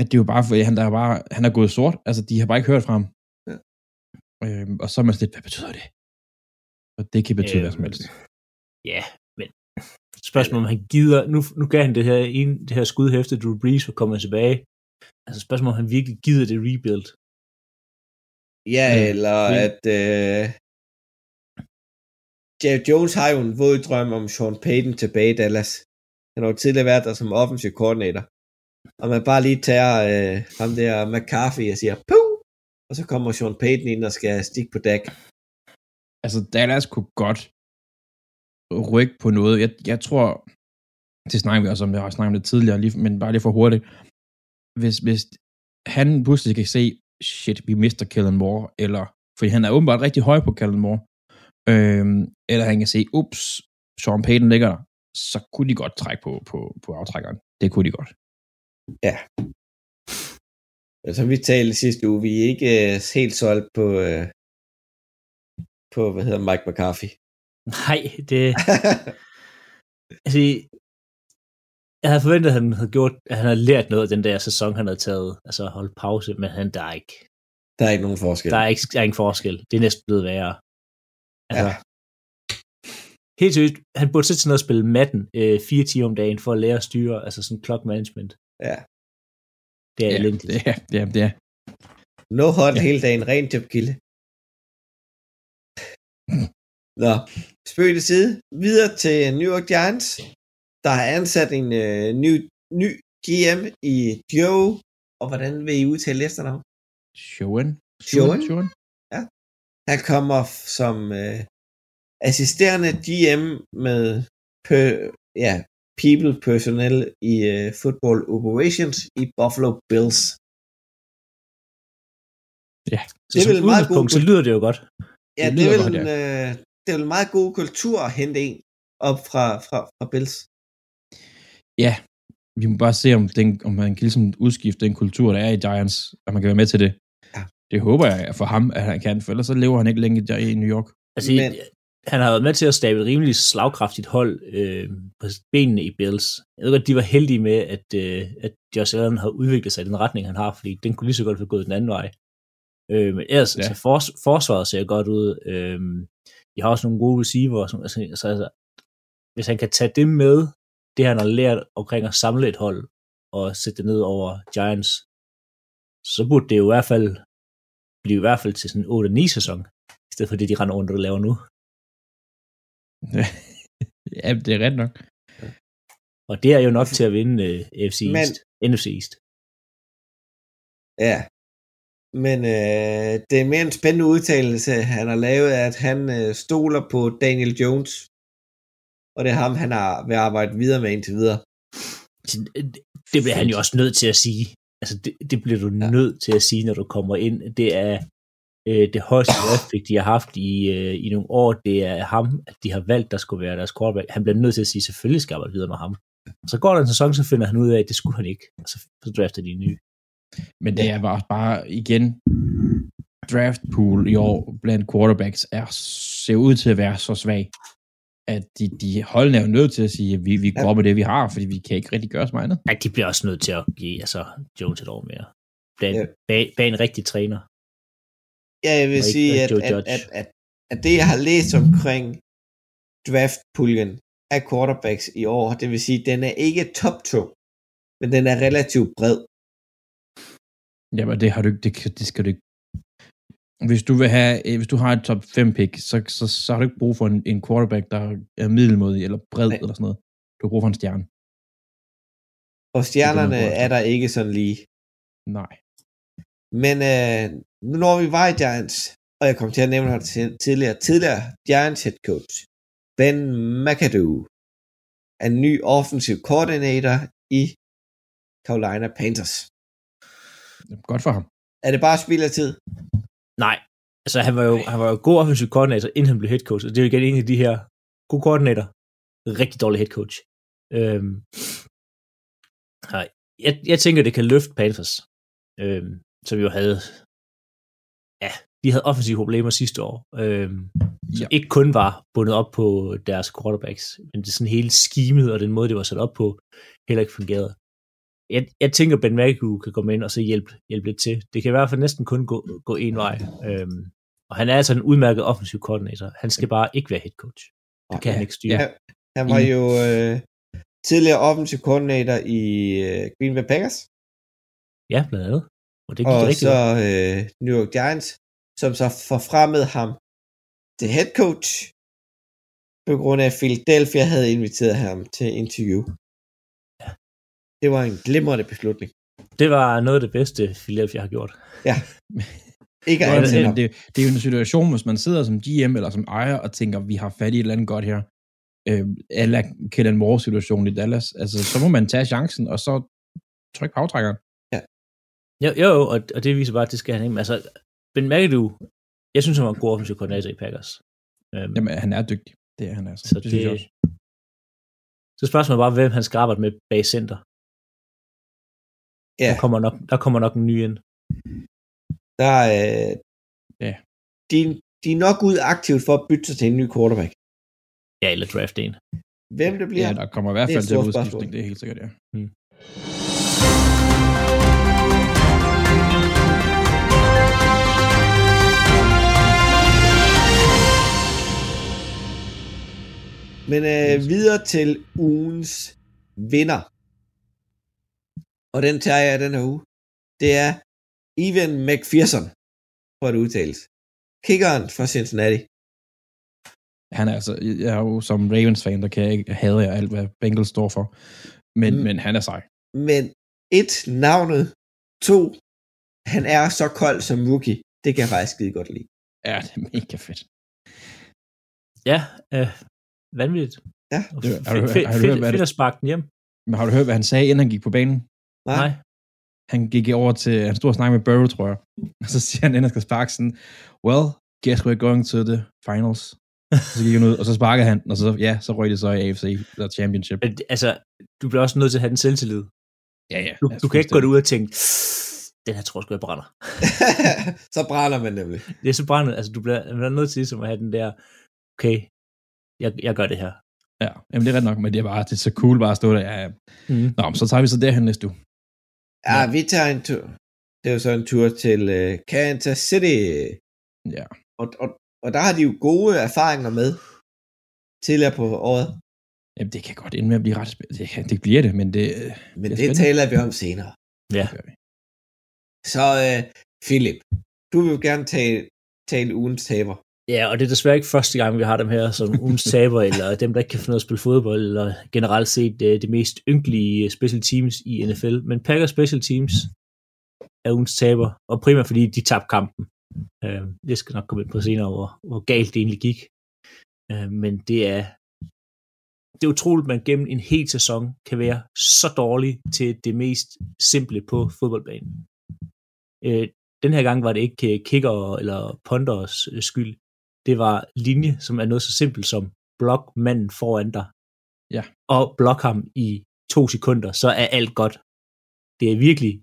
Speaker 6: at det er jo bare, fordi han, der er bare, han er gået sort, altså de har bare ikke hørt fra ham.
Speaker 8: Ja.
Speaker 6: Øhm, og så er man sådan lidt, hvad betyder det? Og det kan betyde øhm. hvad som helst.
Speaker 10: Ja, men (laughs) spørgsmålet om han gider, nu, nu gav han det her, en, det her skud her efter Drew Brees, og kommer tilbage. Altså spørgsmålet om han virkelig gider det rebuild.
Speaker 8: Ja,
Speaker 10: Ja.
Speaker 8: eller
Speaker 10: Ja.
Speaker 8: at... Øh, Jeff Jones har jo en våd drøm om Sean Payton tilbage i Dallas. Han har jo tidligere været der som offensiv koordinator. Og man bare lige tager øh, ham der McCarthy og siger, puh! Og så kommer Sean Payton ind og skal stikke på dæk.
Speaker 6: Altså, Dallas kunne godt rykke på noget. Jeg, jeg tror, det snakker vi også om, jeg har snakket om det tidligere, lige, men bare lige for hurtigt. Hvis, hvis han pludselig kan se, shit, vi mister Kellen Moore, eller, fordi han er åbenbart rigtig høj på Kellen Moore, øhm, eller han kan se, ups, Sean Payton ligger der, så kunne de godt trække på, på, på aftrækkeren. Det kunne de godt.
Speaker 8: Men som Altså, vi talte sidste uge, vi er ikke øh, helt solgt på, øh, på, hvad hedder Mike McCarthy.
Speaker 10: Nej, det... altså, jeg havde forventet, at han havde, gjort, at han havde lært noget af den der sæson, han havde taget. Altså holdt pause, men han, der er ikke,
Speaker 8: Der er ikke nogen forskel.
Speaker 10: der er ikke, der er ingen forskel. Det er næsten blevet værre. Altså, ja. Helt seriøst, han burde sætte sig ned og spille matten øh, fire timer om dagen for at lære at styre, altså sådan clock management.
Speaker 8: Ja.
Speaker 10: Det er
Speaker 6: Ja,
Speaker 10: elendigt.
Speaker 6: det, er, ja, det er.
Speaker 8: No hot
Speaker 6: Ja.
Speaker 8: ja. hele dagen, ren tøbkilde. Nå, spøg til side. Videre til New York Giants, der har ansat en øh, ny, ny GM i Joe, og hvordan vil I udtale efternavn?
Speaker 6: Showen.
Speaker 8: Showen?
Speaker 6: Showen?
Speaker 8: Han kommer f- som øh, assisterende GM med per, ja, people personnel i øh, football operations i Buffalo Bills.
Speaker 10: Så
Speaker 8: det er
Speaker 10: som
Speaker 8: vel en meget god
Speaker 10: udgangspunkt, så
Speaker 8: bud.
Speaker 10: lyder det jo godt.
Speaker 8: Ja,
Speaker 6: Det
Speaker 8: det, er
Speaker 6: lyder
Speaker 8: vel
Speaker 6: godt,
Speaker 8: en, øh, det er vel en meget god kultur at hente en op fra, fra, fra Bills.
Speaker 6: vi må bare se, om, den, om man kan ligesom udskifte den kultur, der er i Giants, at man kan være med til det.
Speaker 8: Ja.
Speaker 6: Det håber jeg for ham, at han kan, for ellers så lever han ikke længe der i New York.
Speaker 10: Altså,
Speaker 8: Men-
Speaker 10: men... han har været med til at stable et rimelig slagkraftigt hold øh, på benene i Bills. Jeg ved godt, de var heldige med, at, øh, at Josh Allen har udviklet sig i den retning, han har, fordi den kunne lige så godt være gået den anden vej. Øh, men ellers,
Speaker 6: Ja.
Speaker 10: ja. altså, fors- forsvaret ser godt ud. Øh, de har også nogle gode receiver. Som, altså, altså, altså, hvis han kan tage det med, det han har lært omkring at samle et hold, og sætte det ned over Giants, så burde det jo i hvert fald blive i hvert fald til sådan en 8-9 sæson, i stedet for det, de render rundt og laver nu.
Speaker 6: (laughs) Ja, det er ret nok.
Speaker 10: Og det er jo nok til at vinde uh, FC East. Men, NFC East.
Speaker 8: Ja. Men øh, det er mere en spændende udtalelse, han har lavet, at han øh, stoler på Daniel Jones. Og det er ham, han har ved at arbejde videre med indtil videre.
Speaker 10: Så det- Altså, Det bliver han jo også nødt til at sige. Altså, det, det bliver du ja. nødt til at sige, når du kommer ind. Det er øh, det højeste draftpick, de har haft i, øh, i nogle år. Det er ham, at de har valgt, der skulle være deres quarterback. Han bliver nødt til at sige, selvfølgelig skal jeg arbejde videre med ham. Så går der en sæson, så finder han ud af, at det skulle han ikke. Og så, så drafter de en ny.
Speaker 6: Men det er bare, bare igen, draft pool i år blandt quarterbacks er, ser ud til at være så svag, at de, de holdene er jo nødt til at sige, at vi, vi går med det, vi har, fordi vi kan ikke rigtig gøre så meget andet.
Speaker 10: Ja, de bliver også nødt til at give altså, Jones et år mere. Bag,
Speaker 8: Ja.
Speaker 10: ja. bag, bag en rigtig træner.
Speaker 8: Ja, jeg vil
Speaker 10: Og ikke-
Speaker 8: sige,
Speaker 10: og
Speaker 8: at,
Speaker 10: Joe
Speaker 8: at,
Speaker 10: Judge.
Speaker 8: at, at, at det, jeg har læst omkring draftpuljen af quarterbacks i år, det vil sige, at den er ikke top 2, men den er relativt bred.
Speaker 6: Jamen, det har du ikke, det, kan- det skal du ikke. Hvis du, vil have, øh, hvis du har et top 5 pick, så, så, så har du ikke brug for en, en quarterback, der er middelmodig eller bred
Speaker 8: Nej.
Speaker 6: eller sådan noget. Du har brug for en stjerne.
Speaker 8: Og stjernerne
Speaker 6: Det kan man godt
Speaker 8: er der ikke sådan lige.
Speaker 6: Nej.
Speaker 8: Men øh, nu når vi var i Giants, og jeg kom til at nævne ham til- tidligere, tidligere Giants head coach, Ben McAdoo, er ny offensiv koordinator i Carolina Panthers.
Speaker 6: Godt for ham.
Speaker 8: Er det bare spild af tid?
Speaker 10: Nej, altså han var jo, han var jo god offensiv koordinator, inden han blev head coach, og det er jo igen en af de her gode koordinator, rigtig dårlig head coach. Øhm, nej, jeg, jeg tænker, det kan løfte Panthers. Øhm, som jo havde, ja, de havde offensive problemer sidste år, øh, som ja. ikke kun var bundet op på deres quarterbacks, men det sådan hele skimet og den måde, det var sat op på, heller ikke fungerede. Jeg, jeg tænker, Ben McAdoo kan komme ind og så hjælpe, hjælpe lidt til. Det kan i hvert fald næsten kun gå, gå en vej. Øhm, og han er altså en udmærket offensiv koordinator. Han skal bare ikke være head coach. Det kan han ikke styre.
Speaker 8: Ja, han var jo øh, tidligere offensiv koordinator i øh, Green Bay Packers,
Speaker 10: Ja, blandt andet. Og det
Speaker 8: og
Speaker 10: gik rigtig
Speaker 8: så
Speaker 10: godt.
Speaker 8: øh, New York Giants, som så forfremmede ham til head coach, på grund af at Philadelphia havde inviteret ham til interview. Det var en glimrende beslutning.
Speaker 10: Det var noget af det bedste, Philadelphia har gjort.
Speaker 8: Ikke at
Speaker 10: Nå,
Speaker 8: ansætte ham.
Speaker 10: det-
Speaker 6: det, det er jo en situation, hvis man sidder som GM eller som ejer og tænker, vi har fat i et eller andet godt her. Øh, eller Kellen Moore situationen i Dallas. Altså, så må man tage chancen, og så trykke på aftrækkeren.
Speaker 10: Jo, jo, jo, og, og det viser bare, at det skal han ikke. Men Altså, Ben McAdoo, jeg synes, han var en god offensiv koordinator i Packers. Øhm,
Speaker 6: Jamen, han er dygtig. Det er han altså.
Speaker 10: så det,
Speaker 6: synes jeg også.
Speaker 10: så spørgsmålet er bare, hvem han skal arbejde med bag center.
Speaker 8: Ja.
Speaker 10: Der, kommer nok, der kommer nok en ny ind.
Speaker 8: Der, øh,
Speaker 6: Ja.
Speaker 8: de, de er nok ude aktivt for at bytte sig til en ny quarterback.
Speaker 10: Ja, eller draft en.
Speaker 8: Hvem det bliver,
Speaker 6: Ja, der kommer i hvert
Speaker 8: Det er
Speaker 6: fald
Speaker 8: et
Speaker 6: til
Speaker 8: stort
Speaker 6: udskiftning,
Speaker 8: spørgsmål.
Speaker 6: det er helt sikkert, ja.
Speaker 8: Men øh, videre til ugens vinder. Og den tager jeg den her uge. Det er Evan McPherson, for at udtales. Kickeren fra Cincinnati.
Speaker 6: Han er altså, jeg er jo som Ravens-fan, der kan jeg ikke, hader jeg alt, hvad Bengals står for. Men,
Speaker 8: Mm.
Speaker 6: mm. men han er sej.
Speaker 8: Men et, navnet. To, han er så kold som rookie. Det kan jeg faktisk skide godt lide.
Speaker 6: Ja, det er mega fedt.
Speaker 10: Ja, øh, vanvittigt.
Speaker 8: Ja.
Speaker 10: Og
Speaker 6: Det-
Speaker 10: fe-
Speaker 6: har du hørt-
Speaker 10: fe-
Speaker 6: har du hørt,
Speaker 10: fedt-
Speaker 6: hvad
Speaker 10: Fedt
Speaker 6: det-
Speaker 10: at sparke den hjem.
Speaker 6: Men har du hørt, hvad han sagde, inden han gik på banen?
Speaker 8: Nej.
Speaker 10: Nej.
Speaker 6: Han gik over til, han stod og snakkede med Burrow, tror jeg. (laughs) Og så siger han, inden han skal sparke sådan, well, guess we're going to the finals. Og så gik han ud, og så sparkede han, og så, ja, så røg det så i AFC, eller championship.
Speaker 10: Men, altså, du bliver også nødt til at have den selvtillid.
Speaker 6: Ja, ja.
Speaker 10: Du, du kan ikke gå derud og tænke, den her tror jeg sgu, jeg brænder.
Speaker 8: (laughs) så brænder man nemlig.
Speaker 10: det er så brændet, altså du bliver, man bliver nødt til ligesom at have den der, okay, jeg, jeg gør det her.
Speaker 6: Ja, jamen det er ret nok, men det er bare, det er så cool bare at stå der. Ja, ja.
Speaker 10: Mm.
Speaker 6: Nå, men så tager vi så derhen næste uge.
Speaker 8: Ja, vi tager en tur. Det er jo så en tur til øh, Kansas City.
Speaker 6: Ja.
Speaker 8: Og, og, og der har de jo gode erfaringer med tidligere på året.
Speaker 6: Jamen, det kan godt ende med at blive ret spændende. Det, kan- det bliver det, men det... øh,
Speaker 8: Men
Speaker 6: Det er
Speaker 8: det
Speaker 6: spændende.
Speaker 8: taler vi om senere.
Speaker 10: Ja.
Speaker 6: gør vi.
Speaker 8: Så øh, Philip, du vil jo gerne tale, tale ugens taber.
Speaker 10: Ja, og det er desværre ikke første gang, vi har dem her som ugens taber, eller dem, der ikke kan finde ud af at spille fodbold, eller generelt set øh, det, det mest ynkelige øh, special teams i NFL. Men Packers special teams er ugens taber, og primært fordi de tabte kampen. Øh, jeg skal nok komme ind på senere, hvor, hvor galt det egentlig gik. Øh, men det er, det er utroligt, at man gennem en hel sæson kan være så dårlig til det mest simple på fodboldbanen. Øh, den her gang var det ikke øh, kicker eller ponders øh, skyld. Det var linje, som er noget så simpelt som blok manden foran dig.
Speaker 6: Ja.
Speaker 10: Og blok ham i to sekunder, så er alt godt. Det er virkelig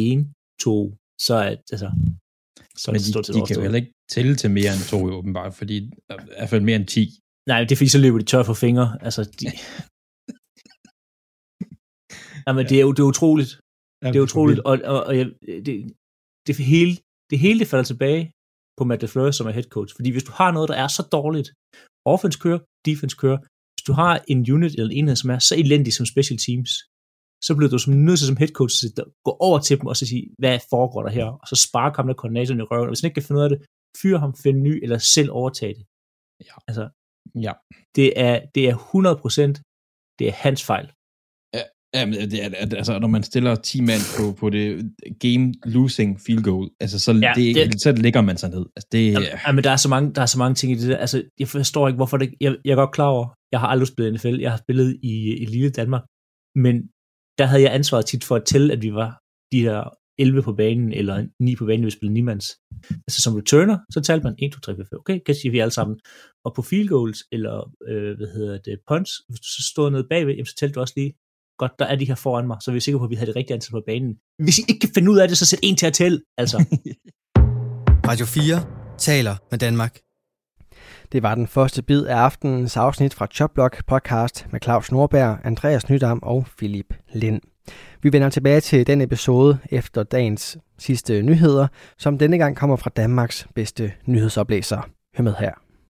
Speaker 10: en, to, så er altså, så er
Speaker 6: Men
Speaker 10: det
Speaker 6: de,
Speaker 10: stort set
Speaker 6: de kan jo
Speaker 10: overstået.
Speaker 6: heller ikke tælle til mere end to, jo, åbenbart, fordi øh, i hvert fald mere end 10.
Speaker 10: Nej, det er fordi, så løber de tør for fingre. Altså, de... Jamen, det er jo det er utroligt. Det er utroligt, og, og, og jeg, det, det, hele, det hele det falder tilbage på Matt LaFleur, som er head coach. Fordi hvis du har noget, der er så dårligt, offense kører, defense kører, hvis du har en unit eller en enhed, som er så elendig som special teams, så bliver du som nødt til som head coach at gå over til dem og så sige, hvad foregår der her? Og så sparke ham der koordinatoren i røven, og hvis han ikke kan finde ud af det, fyre ham, finde ny, eller selv overtage det.
Speaker 6: Ja.
Speaker 10: Altså,
Speaker 6: Ja.
Speaker 10: det er, det er 100%, det er hans fejl.
Speaker 6: Jamen, det er, at- altså, når man stiller 10 mand på, på det game-losing field goal, altså, så,
Speaker 10: Ja,
Speaker 6: ja, det,
Speaker 10: det-
Speaker 6: det, så ligger man sig ned. Altså, det,
Speaker 10: Jamen,
Speaker 6: ja,
Speaker 10: Jamen, der, er så mange, der er så mange ting i det der. Altså, jeg forstår ikke, hvorfor det... Jeg, jeg er godt klar over, jeg har aldrig spillet i NFL. Jeg har spillet i, i lille Danmark. Men der havde jeg ansvaret tit for at tælle, at vi var de her 11 på banen, eller 9 på banen, hvis vi spillede 9 mands. Altså som returner, så talte man 1, 2, 3, 4, 5. Okay, kan sige vi alle sammen. Og på field goals, eller øh, hvad hedder det, punts, hvis du så stod nede bagved, jamen, så talte du også lige godt, der er de her foran mig, så vi er sikre på, at vi havde det rigtige antal på banen. Hvis I ikke kan finde ud af det, så sæt en til at tælle, altså.
Speaker 1: Radio 4 taler med Danmark.
Speaker 2: Det var den første bid af aftenens afsnit fra Chopblock podcast med Claus Norberg, Andreas Nydam og Philip Lind. Vi vender tilbage til den episode efter dagens sidste nyheder, som denne gang kommer fra Danmarks bedste nyhedsoplæser. Hør med her.